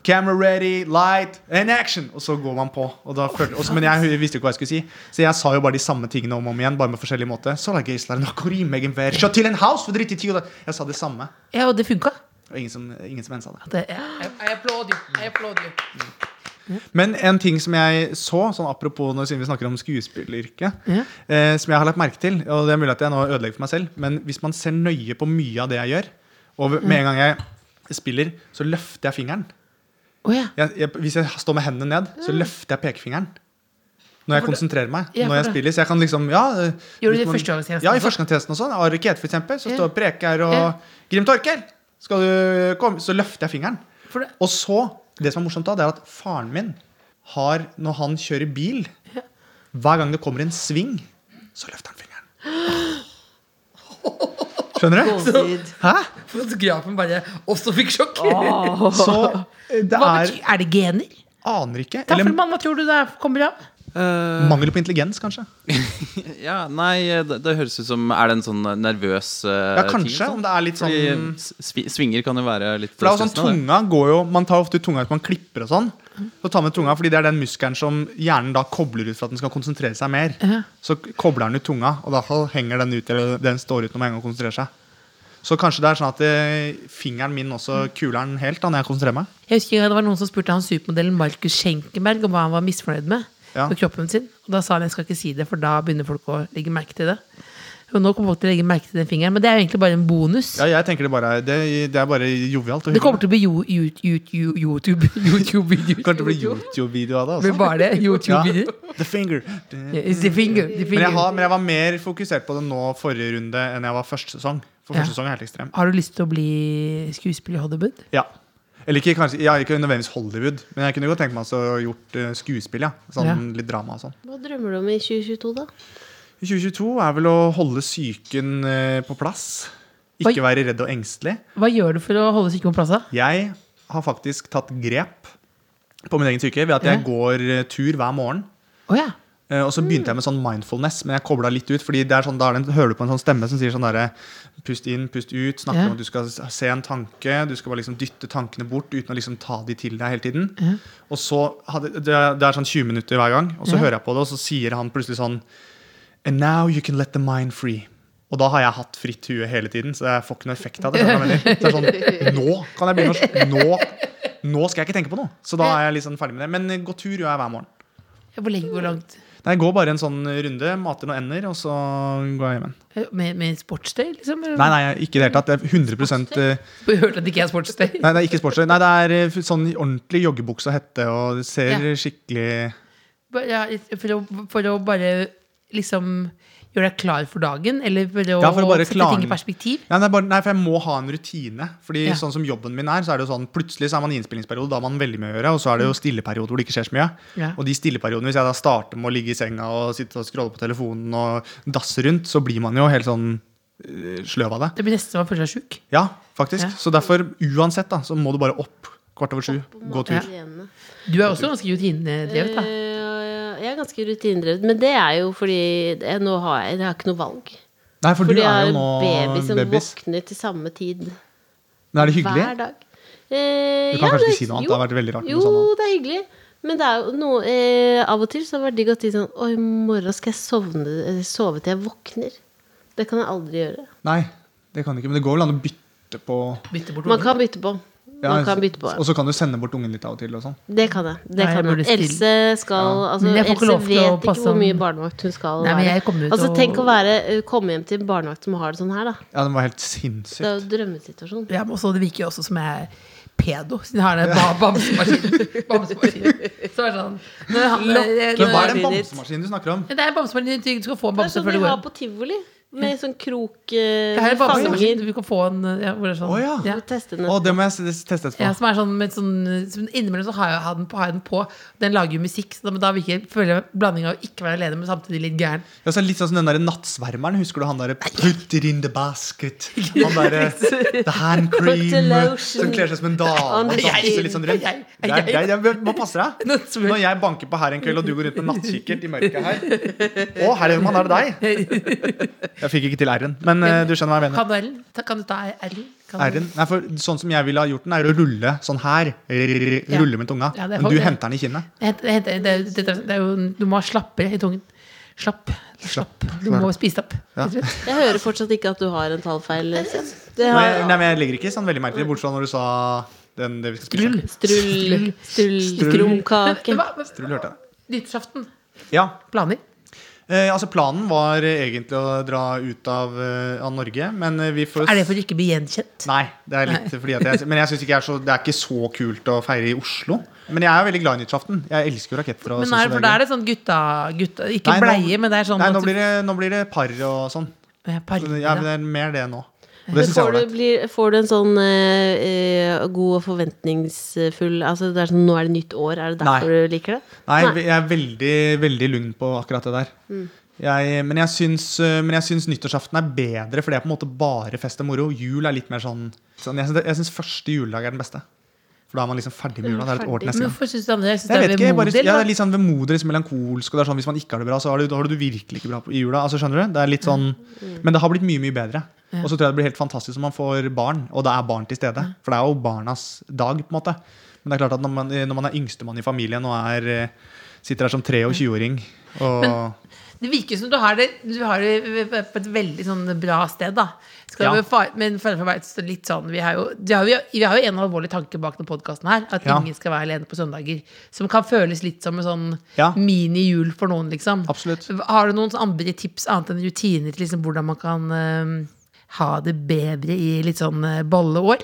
S6: Camera ready, light, and action! Og så går man på. Og da følte, og så- men jeg visste jo ikke hva jeg skulle si, så jeg sa jo bare de samme tingene om og om igjen. Bare med forskjellig måte Så la Geisler nå gå i meg en vær, sjå til en house for dritt i tid, og da- Jeg sa det samme.
S3: ja, og det funka.
S6: Og ingen som, ingen som ensa det.
S3: Det- Jeg jeg applaud you. Jeg applaud you.
S6: Men en ting som jeg så, sånn apropos når siden vi snakker om skuespilleryrket,
S3: Ja.
S6: eh, som jeg har lagt merke til, og det er mulig at jeg nå ødelegger for meg selv, men hvis man ser nøye på mye av det jeg gjør, og med en gang jeg spiller, så løfter jeg fingeren.
S3: Å ja.
S6: Jeg, jeg, hvis jeg står med hendene ned, så løfter jeg pekefingeren. når jeg konsentrerer meg.
S3: Mm. Ja, for
S6: når jeg
S3: det-
S6: spiller, så jeg kan liksom, ja eh,
S3: Gjorde du det
S6: hvis
S3: i
S6: man-
S3: førstegangstjenesten
S6: Ja, i
S3: også?
S6: førstegangstjenesten og sånn. Av Rikett, for eksempel, så
S3: Ja.
S6: står Prekar og
S3: Ja.
S6: Grim Torkel, skal du komme? Så løfter jeg fingeren.
S3: For det-
S6: Og så, det som er morsomt da, det er at faren min har, når han kjører bil, hver gang det kommer en sving, så løfter han fingeren. Skjønner du? Hæ?
S9: Fotografen bare også fikk sjokk.
S6: Så eh, det
S9: Hva
S6: er
S9: betyr, er det gener?
S6: Aner ikke. Eller
S3: Taffelmann, hva tror du det er- kommer av?
S6: mangel på intelligens, kanskje.
S4: Ja, nei, det, det høres ut som Er det en sånn nervøs eh,
S6: Ja,
S4: ting,
S6: kanskje.
S4: sånn?
S6: Om det er litt
S4: Fordi
S6: sånn
S4: s- svi- svinger kan jo være litt
S6: For det er jo sånn,
S4: stressende,
S6: tunga går jo Man tar ofte ut tunga ut man klipper og sånn. Så tar man ut tunga, fordi det er den muskelen som hjernen da kobler ut for at den skal konsentrere seg mer. Så k- kobler den ut tunga, og da henger den ut eller den står ut når man en gang konsentrerer seg. Så kanskje det er sånn at eh, fingeren min også kuler den helt da når jeg konsentrerer meg.
S3: Jeg husker en gang det var noen som spurte han supermodellen Markus Schenkenberg om hva han var misfornøyd med.
S6: Ja.
S3: På kroppen sin Og da sa han jeg skal ikke si det, for da begynner folk å legge merke til det. Og nå kommer folk til å legge merke til den fingeren, men det er jo egentlig bare en bonus.
S6: Ja, jeg tenker det bare er- det, det er bare jovialt. og
S3: Det kommer
S6: hyggelig.
S3: til å bli jo- jo- jo- jo- YouTube. [LAUGHS] YouTube-videoer.
S6: Kanskje det blir YouTube-video av det.
S3: Det blir
S6: Også.
S3: bare det. YouTube-videoer.
S6: The finger.
S3: It's the finger. The
S6: Men
S3: finger.
S6: jeg, har,
S3: Har,
S6: men jeg var mer fokusert på det nå forrige runde enn jeg var første sesong. For
S3: Ja.
S6: første sesong er helt ekstrem.
S3: du lyst til å bli skuespiller i Hollywood?
S6: Ja. Eller ikke, kanskje, ja, ikke nødvendigvis Hollywood, men jeg kunne godt tenkt meg også å gjort eh, skuespill. ja Sånn
S3: Ja.
S6: Litt drama og sånn.
S2: Hva drømmer du om i 2022, da?
S6: 2022 er vel å holde psyken eh, på plass.
S3: Oi.
S6: Ikke være redd og engstelig.
S3: Hva gjør du for å holde psyken på plass? da?
S6: Jeg har faktisk tatt grep på min egen psyke ved at
S3: Ja.
S6: jeg går eh, tur hver morgen.
S3: Å ja.
S6: Eh, Og så begynte jeg med sånn mindfulness, men jeg kobla litt ut. Fordi det er sånn, da er det en, hører du på en sånn stemme som sier sånn derre Pust inn, pust ut. Snakker
S3: Ja.
S6: om at du skal s- se en tanke. Du skal bare liksom dytte tankene bort uten å liksom ta de til deg hele tiden. Og så hadde, det, er- det er sånn 20 minutter hver gang, og så
S3: Ja.
S6: hører jeg på det, og så sier han plutselig sånn And now you can let the mind free. Og da har jeg hatt fritt hue hele tiden, så jeg får ikke noe effekt av det. skjønner du hva jeg mener? Så det er sånn, nå kan jeg begynne å nå, nå skal jeg ikke tenke på noe. Så da er jeg litt sånn ferdig med det. Men eh, gå tur gjør jeg hver morgen.
S3: Hvor lenge? Hvor langt?
S6: Nei, jeg går bare en sånn runde, mater noen ender, og så går jeg hjem igjen.
S3: Med, med sportsday, liksom? eller?
S6: Nei, nei, ikke i det hele tatt. Det er 100 eh,
S2: [LAUGHS]
S3: Du hørte at det ikke er sportsday?
S6: Nei, det er ikke sportslig. Nei, det er eh, sånn ordentlig joggebukse og hette, og det ser
S3: Ja.
S6: skikkelig
S3: Ba- Ja, for, å, for å bare liksom gjøre deg klar for dagen? Eller for å,
S6: Ja, for å bare
S3: sette ting i
S6: klarne-
S3: perspektiv?
S6: Ja, det er bare, nei, for jeg må ha en rutine. Fordi
S3: Ja.
S6: sånn som jobben min er, så er det jo sånn plutselig så er man i innspillingsperiode, da har man veldig mye å gjøre, og så er det jo stilleperiode hvor det ikke skjer så mye.
S3: Mm. Ja.
S6: Og de stilleperiodene, hvis jeg da starter med å ligge i senga og sitte og scrolle på telefonen og dasse rundt, så blir man jo helt sånn eh, sløv av det.
S3: Det blir nesten som å føle seg sjuk.
S6: Ja, faktisk.
S3: Ja.
S6: Så derfor, uansett, da, så må du bare opp kvart over sju. Gå tur.
S2: Alene.
S3: Du er også ganske rutinedrevet, da.
S2: Eh, Jeg er ganske rutinedrevet, men det er jo fordi jeg, nå har jeg, jeg har ikke noe valg.
S6: Nei, for
S2: Fordi
S6: du
S2: jeg
S6: er
S2: har
S6: jo
S2: en
S6: nå
S2: baby som
S6: babys.
S2: våkner til samme tid
S6: Men er det hyggelig?
S2: hver dag. Eh,
S6: Du kan
S2: ja,
S6: kanskje
S2: det-
S6: ikke si noe annet.
S2: jo.
S6: Det har vært veldig rart. med
S2: Jo,
S6: sånn annet.
S2: det er hyggelig. Men det er jo noe, eh, av og til så har det vært digg å si sånn Å, i morgen skal jeg sovne, eh, sove til jeg våkner. Det kan jeg aldri gjøre.
S6: Nei, det kan du ikke. Men det går vel an å bytte på
S3: Bytte bort
S2: Man
S3: hodet.
S2: kan bytte på.
S6: Ja,
S2: Man kan bytte på.
S6: Og så kan du sende bort ungen litt av og til. og sånn
S2: Det kan jeg. Det
S3: Nei, jeg
S2: kan
S3: burde
S2: jeg.
S3: stille-
S2: Else skal altså,
S3: Men jeg får ikke
S2: Else
S3: lov til å
S2: vet ikke
S3: passe
S2: hvor
S3: om-
S2: mye barnevakt hun skal
S3: Nei, men jeg
S2: være.
S3: kommer til
S2: Altså,
S3: å-
S2: tenk å være, komme hjem til en barnevakt som har det sånn her, da.
S6: Ja, den var helt
S2: Det er
S6: sinnssykt.
S2: jo drømmesituasjon.
S3: Ja, men også, det virker jo også som jeg er pedo, siden jeg har den ba- bamsemaskinen.
S2: [LAUGHS]
S3: bamsemaskinen. Så er det sånn når han- når-
S6: Men hva er den
S2: Nå er det ditt.
S6: bamsemaskinen du snakker om?
S3: Det er bamsemaskinen din. Du skal få en
S2: Det er
S3: bamse
S2: sånn
S3: før du
S2: de
S3: går
S2: har
S3: hjem.
S2: på tivoli, med sånn krok eh,
S3: Det her er bamsemaskinen.
S2: fanger.
S3: Du kan få en ja, hvor det er sånn.
S6: Å, ja.
S3: Ja.
S2: Må teste den.
S6: Å, det må jeg s- teste etterpå.
S3: Ja, som er sånn, med sånn som Innimellom så har jeg, har den på, har jeg den på. Den lager jo musikk, så da, men da virker, føler jeg blanding av ikke være alene, men samtidig litt gæren.
S6: Ja, så er det litt sånn som den der nattsvermeren. Husker du han derre Put it in the
S3: [LAUGHS]
S6: basket. Han derre The hand
S2: Put the
S6: cream. eh,
S2: lotion
S6: Som kler seg som en
S2: on
S6: dame
S2: the
S6: og danser
S2: skin.
S6: litt sånn rundt.
S3: Jeg-
S6: Det er
S3: jeg-
S6: deg. Jeg må passe deg.
S3: Nå spør-
S6: Når jeg banker på her en kveld, og du går rundt med nattkikkert i mørket her Å, Herman, er det deg? Jeg fikk ikke til R-en, men eh, du skjønner hva jeg mener.
S3: Kan du R-en? Ta- Kan du ta R-en? Kan du-
S6: R-en, nei, for Sånn som jeg ville ha gjort den, er å rulle sånn her.
S3: Ja.
S6: Rulle med tunga.
S3: Ja, det er
S6: Men du
S3: faktisk-
S6: henter den i kinnet.
S3: Jeg henter- jeg henter- Det, er jo- det, er- det er jo, du må ha slappere i tungen. Slapp. Slapp. Du må spise opp.
S6: Ja.
S2: Jeg hører fortsatt ikke at du har en tallfeil. Else. Det
S6: Nei,
S2: har
S6: men jeg legger ikke sånn veldig merke til det, bortsett fra når du sa den, det vi skal spise.
S3: Strull.
S2: Strull, strull,
S6: Strull.
S2: krumkake.
S3: Men hva-
S6: Strull hørte jeg.
S3: Nyttårsaften.
S6: Ja,
S3: Planer?
S6: Eh, altså Planen var eh, egentlig å dra ut av, eh, av Norge, men eh, vi får
S3: Er det for å ikke bli gjenkjent?
S6: Nei, det er litt fordi at jeg Men jeg synes ikke jeg er så, det er ikke så kult å feire i Oslo. Men jeg er jo veldig glad i nyttårsaften. Jeg elsker jo raketter. og
S3: Men er
S6: sånn som
S3: det, for
S6: Norge.
S3: da er det sånn gutta, gutta Ikke
S6: Nei, nå-
S3: bleie, men det er sånn
S6: Nei,
S3: at
S6: nå
S3: du-
S6: blir, det, nå blir det par og sånn.
S3: Ja,
S6: Så
S3: parker,
S6: det-
S3: ja.
S6: Ja, det er mer det nå. Og det
S2: Men
S6: synes jeg
S2: får,
S6: var
S2: du,
S6: ålreit.
S2: blir, får du en sånn eh, eh, god og forventningsfull Altså det er sånn, Nå er det nytt år, er det derfor
S6: Nei.
S2: du liker det?
S6: Nei,
S2: Nei.
S6: jeg er veldig, veldig lugn på akkurat det der. Jeg, men, jeg syns, øh, men jeg syns nyttårsaften er bedre, for det er på en måte bare fest og moro. Jul er litt mer sånn, sånn Jeg syns- jeg syns første juledag er den beste. For da er man liksom ferdig med jula. Det er et år til
S3: Men
S6: neste gang.
S3: hvorfor syns du andre jeg synes
S6: Jeg vet
S3: det er
S6: ikke, jeg bare,
S3: vemodig?
S6: ja, det er
S3: eller?
S6: litt sånn vemodig, liksom melankolsk. Og det er sånn, hvis man ikke har det bra, så har du, da har du det virkelig ikke bra på, i jula. Altså, skjønner du? Det er litt sånn,
S3: Mm.
S6: men det har blitt mye, mye bedre. Og så tror jeg det blir helt fantastisk om man får barn, og det er barn til stede. For det er jo barnas dag, på en måte. Men det er klart at når man, når man er yngstemann i familien og er, eh, sitter her som 23-åring og
S3: Det virker som du har det, du har det eh, på et veldig sånn bra sted, da. Skal
S6: Ja.
S3: vi fa- men føler for meg så litt sånn Vi har jo, det har, vi, vi har jo en alvorlig tanke bak denne podkasten her. At
S6: Ja.
S3: ingen skal være alene på søndager. Som kan føles litt som en sånn
S6: Ja.
S3: mini-jul for noen, liksom.
S6: Absolutt.
S3: Har du noen sånne andre tips annet enn rutiner til liksom, hvordan man kan eh, ha det bedre i litt sånn eh, bolleår?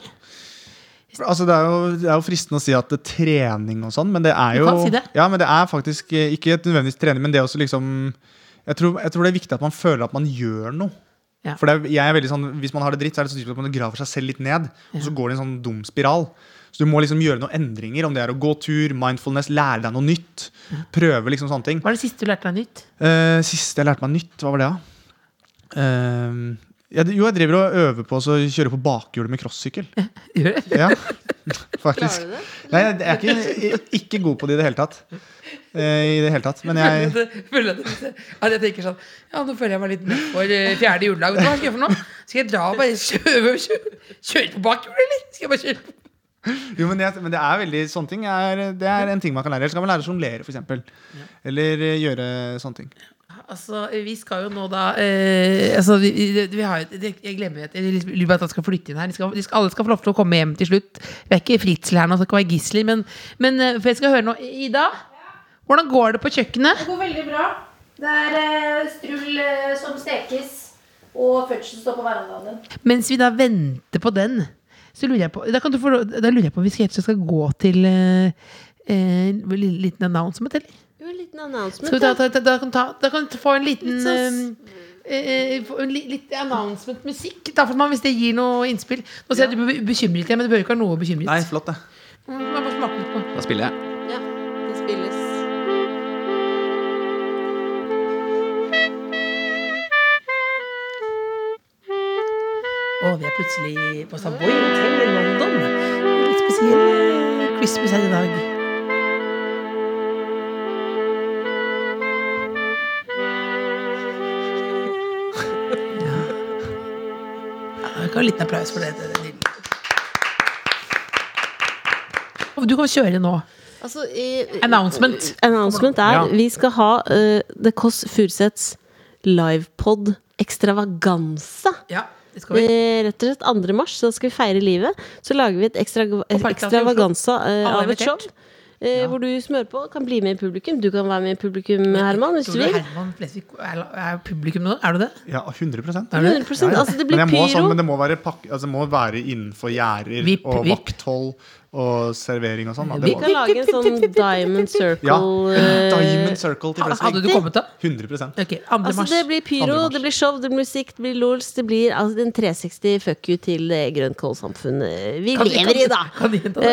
S6: For, Altså, det, er jo, det er jo fristende å si at det er trening og sånn, men det er
S3: Du
S6: jo
S3: kan si det.
S6: Ja, men det er faktisk eh, ikke et nødvendigvis trening, men det er også liksom jeg tror, jeg tror det er viktig at man føler at man gjør noe.
S3: Ja.
S6: For det er, jeg er veldig sånn, Hvis man har det dritt, så er det så typisk at man graver seg selv litt ned. Og så går det i en sånn dum spiral. Så du må liksom gjøre noen endringer, om det er å gå tur, mindfulness, lære deg noe nytt. Prøve liksom sånne ting.
S3: Hva er det siste du lærte deg nytt?
S6: Eh, siste jeg lærte meg nytt, hva var det, da? Eh, jeg, jo, jeg driver og øver på å så kjøre på bakhjulet med crossykkel.
S3: Gjør det? [LAUGHS]
S6: Ja, faktisk. Nei, jeg er ikke, jeg er ikke god på det i det hele tatt. Eh, I det hele tatt. Men jeg
S3: Føler at, det- at jeg tenker sånn Ja, nå føler jeg meg litt med for eh, fjerde juledag. Vet du Hva skal jeg gjøre for noe? Skal jeg dra og bare kjøre, kjøre, kjøre på bakhjulet, eller? Skal jeg bare kjøre på
S6: Jo, men, jeg, men det er veldig sånne ting. Er, det er en ting man kan lære. Eller så kan man lære å sjonglere, f.eks. Eller eh, gjøre sånne ting.
S3: Altså, vi skal jo nå da eh, altså, vi, vi, vi har, jo- det- Jeg glemmer at Jeg liksom lurer på at han skal flytte inn her. De skal, de skal, alle skal få lov til å komme hjem til slutt. Vi er ikke Fritzel her nå, så det kan være gisler. Men, men eh, for jeg skal høre nå Ida, hvordan går det på kjøkkenet?
S5: Det går veldig bra. Det er eh, strull eh, som stekes, og fødsel står på verandaen din.
S3: Mens vi da venter på den, så lurer jeg på Da, kan du få, lov- da lurer jeg på om vi skal, helt så skal gå til eh, eh, en liten announcement, eller?
S2: Jo, en liten
S3: Skal vi
S2: announcement.
S3: ta,
S2: Da.
S3: ta, ta, da kan ta, da kan du få en liten
S2: Litt sånn
S3: eh, eh, få en li- Litt announcement-musikk, da, for man, hvis det gir noe innspill. Nå ser jeg at du blir bekymret, igjen, men du behøver ikke være noe bekymret.
S6: Nei, flott, det.
S3: Mm, jeg bare smaker litt på.
S4: Da spiller jeg.
S2: Ja, det spilles.
S3: Å, vi er plutselig på Savoy Hotel i London. Litt spesiell eh, Christmas her i dag. Ja. Ja, vi kan ha en liten applaus for det. det, er nydelig. Du kan kjøre nå.
S2: Altså, i,
S3: Announcement.
S2: announcement er
S6: Ja.
S2: vi skal ha eh, The Kåss Furuseths livepod ekstravaganza.
S3: Ja, det skal vi.
S2: Eh, rett og slett 2. mars, så skal vi feire livet. Så lager vi et ekstra,
S3: Parkteatret i Oslo.
S2: ekstravaganza eh,
S3: Alle er
S2: av et show.
S3: invitert.
S2: Eh, Hvor du smører på, kan bli med i publikum. Du kan være med i publikum, Herman. Hvis du
S3: Tror
S2: vil.
S3: Herman Flesvig er, er publikum nå? Er du det?
S6: Ja, 100
S3: Er det?
S2: 100 Altså, det
S6: men,
S2: blir
S6: jeg må,
S2: pyro.
S6: sånn, men det må være, pakke, altså, det må være innenfor gjerder
S3: Vipp,
S6: og
S3: vipp.
S6: vakthold og servering og sånn. da.
S2: Vi
S6: Det må-
S2: kan lage en sånn Diamond Circle.
S6: Ja.
S2: eh,
S6: Diamond Circle til
S3: Hadde
S6: wrestling.
S3: du kommet da?
S6: 100
S3: Ok, 2.
S2: Altså,
S3: mars.
S2: det blir pyro,
S6: 2. mars.
S2: det blir show, det blir musikk, det blir lols. Det blir altså, en 360 fuck you til det grønnkålsamfunnet vi
S3: Kan-
S2: lever i, da!
S3: [LAUGHS] kan- kan de gjenta det?
S2: Eh,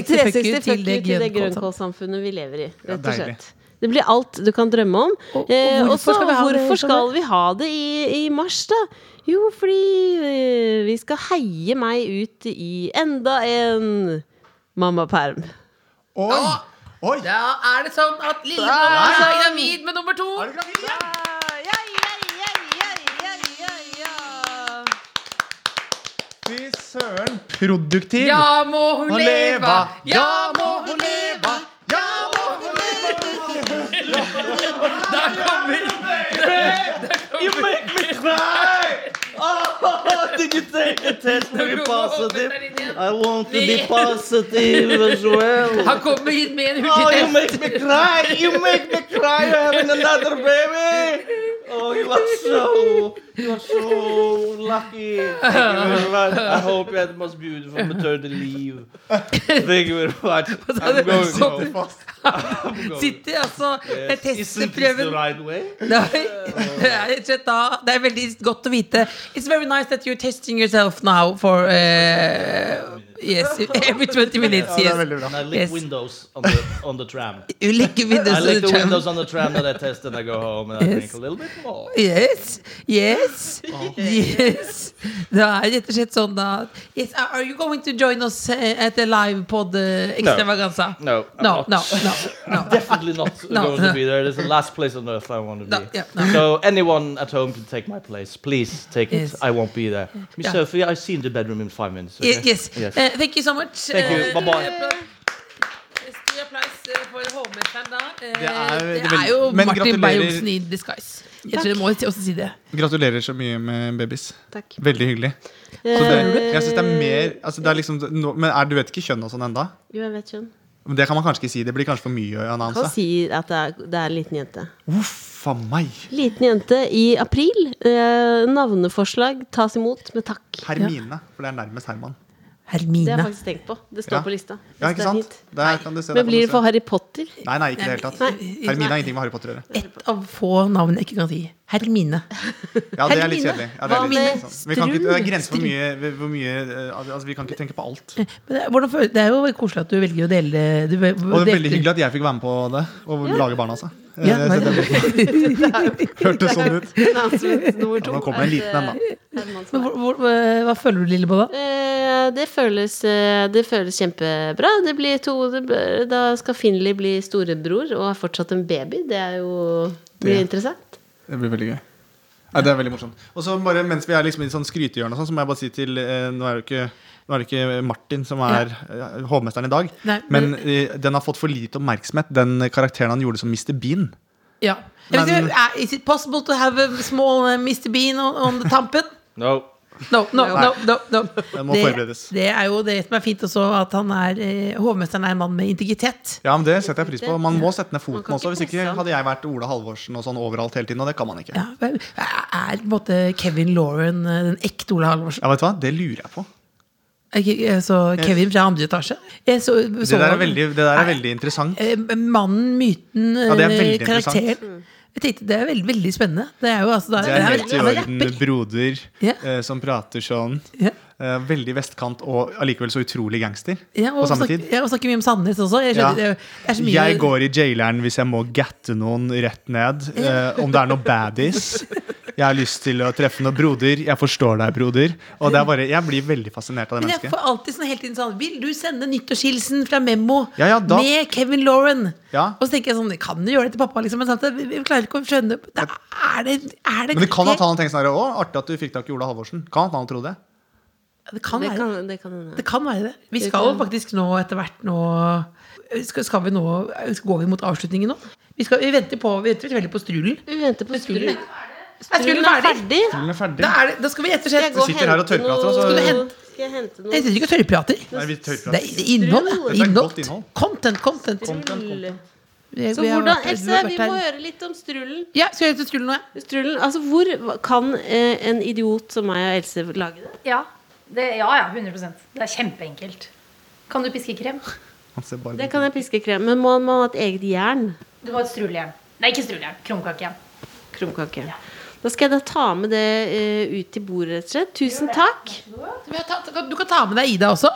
S3: 360 fuck you til det
S2: grønnkålsamfunnet vi lever i, rett og
S6: deilig.
S2: slett. Det blir alt du kan drømme om.
S3: Og- og
S2: Eh,
S3: hvorfor
S2: og så
S3: skal vi ha det
S2: hvorfor
S3: sånn
S2: skal vi ha det i, i mars, da? Jo, fordi eh, vi skal heie meg ut i enda en mammaperm.
S6: Oi! Oi!
S3: Da er det sånn at lillebror er gravid med nummer to.
S6: altså- Er du gravid? Fy søren! Produktiv!
S3: Ja, må hun
S6: Må
S3: leve! Ja, må hun
S6: leve! Ja, må hun
S3: [LAUGHS]
S6: leve!
S8: You make me cry! Oh, want to get- take a test to be positive. I want to be positive as well.
S3: Han kommer inn med en
S8: Oh, you
S3: hurtigtest.
S8: make me cry! You make me cry! You're having another baby! Oh, you are so, you are so lucky. Thank you very much. I hope you had the most beautiful maternity leave. Thank you very [LAUGHS] much. I'm going
S3: Så-
S8: home.
S3: Sitter altså
S8: Yes. Isn't this the
S3: testprøven
S8: right way?
S3: Nei, [LAUGHS] det er rett og slett da Det er veldig godt å vite. It's very nice that you're testing yourself now for eh, Yes, every 20 minutes.
S6: det er
S3: Yes.
S6: veldig bra.
S8: And I lick
S3: Yes.
S8: windows on the on the tram.
S3: You lick windows
S8: I
S3: on
S8: lick
S3: the
S8: the
S3: tram.
S8: windows on the tram that I test, and I go home and I drink a little bit more.
S3: Yes, yes,
S8: Ah.
S3: yes. Det er rett og slett sånn da yes, Are you going to join us eh, at a live pod eh, extravaganza?
S8: No, I'm
S3: No,
S8: not.
S3: no, no, no.
S8: [LAUGHS] Definitely not
S3: [LAUGHS] No.
S8: going to be there. It's the last place on earth I want to be.
S3: No, yeah, no.
S8: So anyone at home can take my place. Please take
S3: Yes.
S8: it. I won't be there. Miss
S3: Yeah.
S8: Sophie, I see you in the bedroom in five minutes.
S3: Ye-
S8: Okay?
S3: Yes.
S8: Yes.
S3: Eh, thank you so much.
S8: Thank you.
S3: Eh,
S8: Bye-bye.
S3: applaus. Stor applaus eh, for hovmesteren da. Eh,
S6: Det er
S3: det
S6: veldig-
S3: er jo
S6: Men
S3: Martin
S6: gratulerer-
S3: Beyer-Olsen i disguise. Jeg tror jeg må også si det.
S6: Gratulerer så mye med babys.
S2: Takk.
S6: Veldig hyggelig. Så det,
S2: Eh.
S6: jeg synes det er mer altså det er liksom, nå- Men er, du vet ikke kjønn og sånn enda?
S2: Jo, jeg vet ikke.
S6: Men Det kan man kanskje ikke si. Det blir kanskje for mye
S2: Kan
S6: annonse.
S2: si at det er, det er en liten jente.
S6: Uff a meg.
S2: Liten jente i april. Eh, navneforslag tas imot med takk.
S6: Hermine. For det er nærmest Herman.
S2: Det har
S3: Hermine.
S2: jeg faktisk tenkt på. Det står
S6: Ja.
S2: på lista.
S6: Ja,
S2: Så det
S6: ikke
S2: er
S6: sant?
S2: fint.
S6: Der kan du se. der
S2: Men
S6: kan
S2: blir
S6: du
S2: det
S6: se.
S2: for Harry Potter?
S6: Nei, nei, ikke i det hele tatt. Hermine har ingenting med Harry Potter å gjøre.
S3: Et av få navn jeg ikke kan si. Hermine.
S6: Ja, det er litt
S3: Hermine.
S6: kjedelig. Ja, det,
S2: Hva
S6: er litt,
S2: med
S6: sånn. vi, kan ikke, det er grenser for
S3: Strun?
S6: mye, hvor mye eh, altså, Vi kan ikke tenke på alt.
S3: Men det, er- hvordan, føler- det er jo koselig at du velger å dele du, ve-
S6: Og det er
S3: delte-
S6: veldig hyggelig at jeg fikk være med på det. Og lage barna, altså. Eh,
S3: Ja, nei.
S6: så det Hørtes sånn
S2: [LAUGHS]
S6: ut.
S2: Announcement Altså, nummer
S6: Ja,
S2: to.
S6: nå kommer en
S2: er,
S6: liten en, da.
S2: eh, Herman som
S3: [LAUGHS] Men
S2: er-
S3: hvor, hvor, eh, Hva føler du, Lillebolla?
S2: Eh, Det føles, eh, det føles kjempebra. Det blir to, det, blir- da skal Finley bli storebror og er fortsatt en baby. Det er jo blir
S6: Det-
S2: interessant.
S6: Det blir veldig gøy. Nei, det er veldig morsomt. Og så bare mens vi er liksom i sånn skrytehjørne, og sånn, så må jeg bare si til eh, Nå er det ikke nå er det ikke Martin som er eh, hovmesteren i dag,
S3: Nei,
S6: men
S3: men-
S6: eh, den har fått for lite oppmerksomhet, den karakteren han gjorde som Mr. Bean.
S3: Ja. Jeg vet
S6: Men-
S3: ikke, er- Is it possible to have a small eh, Mr. Bean on, on the tampen?
S8: No.
S3: No, no, no, no, no.
S6: må forberedes.
S3: det er jo det som er fint også, at han er, eh, hovmesteren er en mann med integritet.
S6: Ja, men Det setter jeg pris på. Man må sette ned
S2: Man kan
S6: foten
S2: ikke
S6: også. Hvis ikke
S2: presse han.
S6: hadde jeg vært Ola Halvorsen og sånn overalt hele tiden, og det kan man ikke.
S3: Ja, vel, er på en måte Kevin Lauren eh, den ekte Ola Halvorsen?
S6: Ja, vet du hva? Det lurer jeg på.
S3: Eh, Ke- eh, Så Kevin fra andre etasje? Jeg så, så
S6: Det der er
S3: han.
S6: veldig, det der er veldig interessant.
S3: Eh, Mannen, myten, eh,
S6: Ja, det er veldig
S3: karakteren. Jeg tenkte, Det er veldig, veldig spennende. Det er jo altså da-
S6: Det er
S3: det er-
S6: helt i
S3: han er
S6: orden
S3: rapper.
S6: broder
S3: Ja.
S6: eh, som prater sånn.
S3: Ja.
S6: Eh, veldig vestkant og allikevel så utrolig gangster
S3: Ja,
S6: på
S3: og
S6: samme
S3: snakker-
S6: tid.
S3: Ja, og snakker mye om Sandnes også. Jeg, skjønner,
S6: Ja.
S3: det er så mye,
S6: Jeg går i jaileren hvis jeg må gatte noen rett ned. eh, om det er noen baddies. Jeg har lyst til å treffe noen broder. Jeg forstår deg, broder. Og det er bare, Jeg blir veldig fascinert av det
S3: Men jeg
S6: mennesket.
S3: får alltid sånn hele tiden sånn Vil du sende nyttårshilsen fra Memo
S6: Ja, ja, da-
S3: med Kevin Lauren?
S6: Ja.
S3: Og så tenker jeg sånn Kan du gjøre det til pappa, liksom? Men samtidig, vi, vi klarer ikke å skjønne det er det, er det,
S6: Men det kan at han tenker sånn her, Å, artig at du fikk tak i Ola Halvorsen. Kan at han trodde det.
S3: det kan
S2: Det
S3: være det.
S2: kan, det kan hende.
S3: Det kan være det. Vi
S2: Det
S3: skal
S2: kan-
S3: faktisk nå etter hvert nå eh, skal, skal vi nå Går vi mot avslutningen nå? Vi, skal, vi venter på Vi venter veldig på strulen.
S2: Vi venter på Strulen.
S3: Er strulen ferdig?
S6: Hun er ferdig.
S3: Da er det, da skal vi rett og slett
S6: Du sitter her og tørrprater, altså. Skal
S2: Skal
S6: du
S3: hente-
S2: jeg hente noe?
S3: Jeg sitter ikke og tørrprater.
S6: Nei, vi
S3: Det
S6: tørrprater.
S3: er innhold. da.
S6: Dette er godt
S3: Innhold.
S6: innhold.
S3: Content, content.
S2: Strull.
S3: Vi-
S2: Så
S3: vi har
S2: hvordan,
S3: vært- vi
S2: Else,
S3: har vært
S2: vi
S3: her.
S2: må høre litt om Strullen.
S3: Ja, skal jeg til skolen nå? jeg?
S2: Strullen, altså Hvor hva- kan eh, en idiot som meg og Else lage det?
S5: Ja, det, ja, ja, 100 Det er kjempeenkelt. Kan du piske krem?
S6: Han ser bare
S2: Det kan jeg piske krem Men må man ha et eget jern?
S5: Du må ha et strulejern. Nei, ikke strulejern. Krumkakejern.
S2: Krumkake. Da skal jeg da ta med det eh, ut til bordet, rett og slett. Tusen takk.
S3: Vi har tatt- Du kan ta med deg Ida også.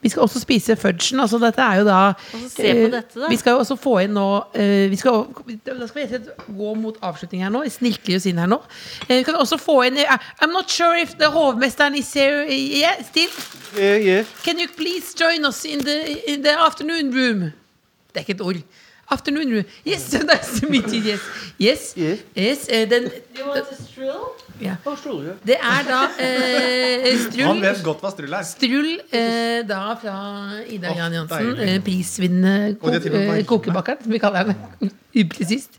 S3: Vi skal også spise fudgen. Altså dette er jo da,
S2: så se på
S3: eh,
S2: dette, da.
S3: Vi skal jo også få inn nå eh, vi skal, Da skal vi rett og slett gå mot avslutning her nå. Vi Snirkler oss inn her nå. Eh, vi kan også få inn eh, I'm not sure if the hovmesteren is here eh, yeah, still.
S8: Yeah, yeah.
S3: Can you please join us in the, in the afternoon room? Det er ikke et ord. Afternoon room. Yes, [LAUGHS] so nice to meet you. Yes. Yes.
S8: Yeah.
S3: yes eh, den, Ja.
S8: Oh, sure, yeah.
S3: det er da eh,
S6: Han
S3: Strull
S6: vet godt hva strull er.
S3: Strull eh, da fra Ida
S6: Åh,
S3: Jan Jansen,
S6: deilig.
S3: eh, prisvinnende ko
S6: Og de har til og med
S3: eh,
S6: varme.
S3: kokebakeren, som vi kaller henne [LAUGHS] upresist.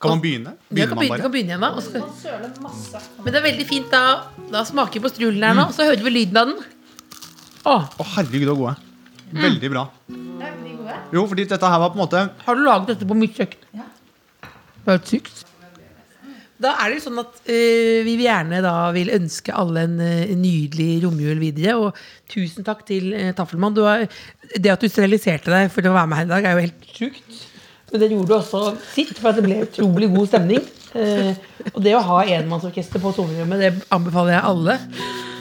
S6: Kan man begynne?
S3: Jeg
S6: Begynner
S3: kan
S6: man
S3: begynne,
S6: bare?
S3: kan begynne igjen da. og så- Men det er veldig fint da. Da smaker vi på strulen her
S6: Mm.
S3: nå, så hører vi lyden av den. Å,
S6: Å, herregud, så gode. Veldig bra. Jo, fordi dette her var på en måte
S3: har du laget dette på mitt kjøkken? Ja. Det er helt sykt. Da er det jo sånn at eh, vi vil gjerne da vil ønske alle en eh, nydelig romjul videre. Og tusen takk til uh, Taffelmann. Du har, det at du steriliserte deg for å være med her i dag, er jo helt sjukt. Men det gjorde du også sitt, for at det ble utrolig god stemning. Eh, og det å ha enmannsorkester på soverommet, det anbefaler jeg alle.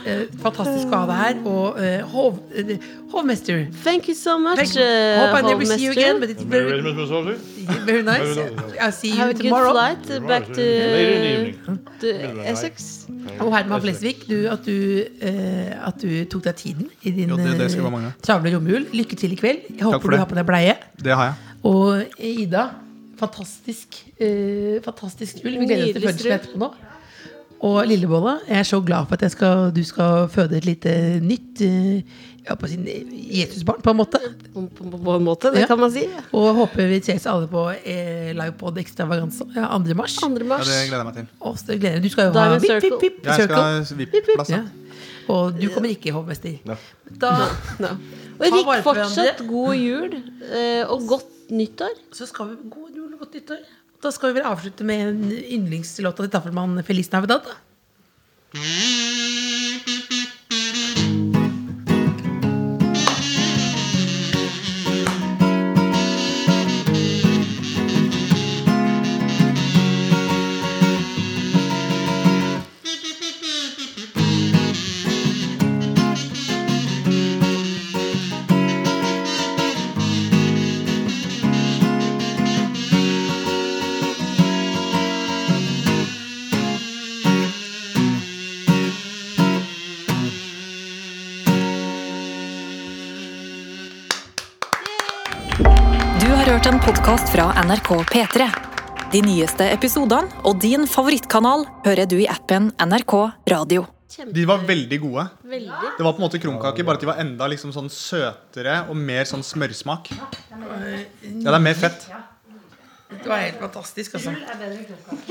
S3: Eh, fantastisk å ha deg her. Og eh, hov, eh, hovmester.
S2: Thank you so much,
S3: Hope I
S2: uh,
S3: never see you
S2: hovmester.
S3: again, but it's very, very nice. I'll see
S2: Have
S3: you
S2: a good
S3: tomorrow.
S2: flight uh, back to,
S8: Later in the evening.
S2: to Essex.
S3: Og Herman Flesvig, du, at, du, eh, at du tok deg tiden i din
S6: Jo, det- det skal
S3: eh,
S6: være mange.
S3: travle romjul. Lykke til i kveld. Jeg
S6: for
S3: håper du
S6: det.
S3: har på deg bleie.
S6: Det har jeg.
S3: Og Ida, fantastisk, eh, fantastisk jul. Vi gleder oss til
S2: Nydelig
S3: fødselen etterpå nå. Og Lillebolla, jeg er så glad for at jeg skal, du skal føde et lite nytt eh, ja, på sin Jesusbarn, på en måte.
S2: På, på, på en måte, det
S3: Ja.
S2: kan man si.
S3: Og håper vi ses alle på eh, livepod Extravaganza ja, 2. mars.
S2: 2.
S6: Ja,
S2: mars.
S6: det gleder jeg meg til.
S3: Og så gleder jeg meg. Du skal jo ha
S2: Diamond
S3: vipp,
S2: Circle.
S3: vipp, vipp,
S6: Jeg
S3: circle.
S6: skal VIP-plass.
S3: Ja. Og du kommer ikke, hovmester. Da
S2: No. Og
S3: Ta
S2: Rik,
S3: vare på
S2: fortsatt god jul eh, og godt nyttår.
S3: så skal vi God jul og godt nyttår. Da skal vi vel avslutte med en yndlingslåta til Taffelmann, Feliz Navidad. da.
S1: Du har hørt en podkast fra NRK P3. De nyeste episodene og din favorittkanal hører du i appen NRK Radio.
S6: De var veldig gode.
S2: Veldig.
S6: Det var på en måte krumkaker, bare at de var enda liksom sånn søtere og mer sånn smørsmak. Ja, det er mer fett.
S3: Det var helt fantastisk, altså.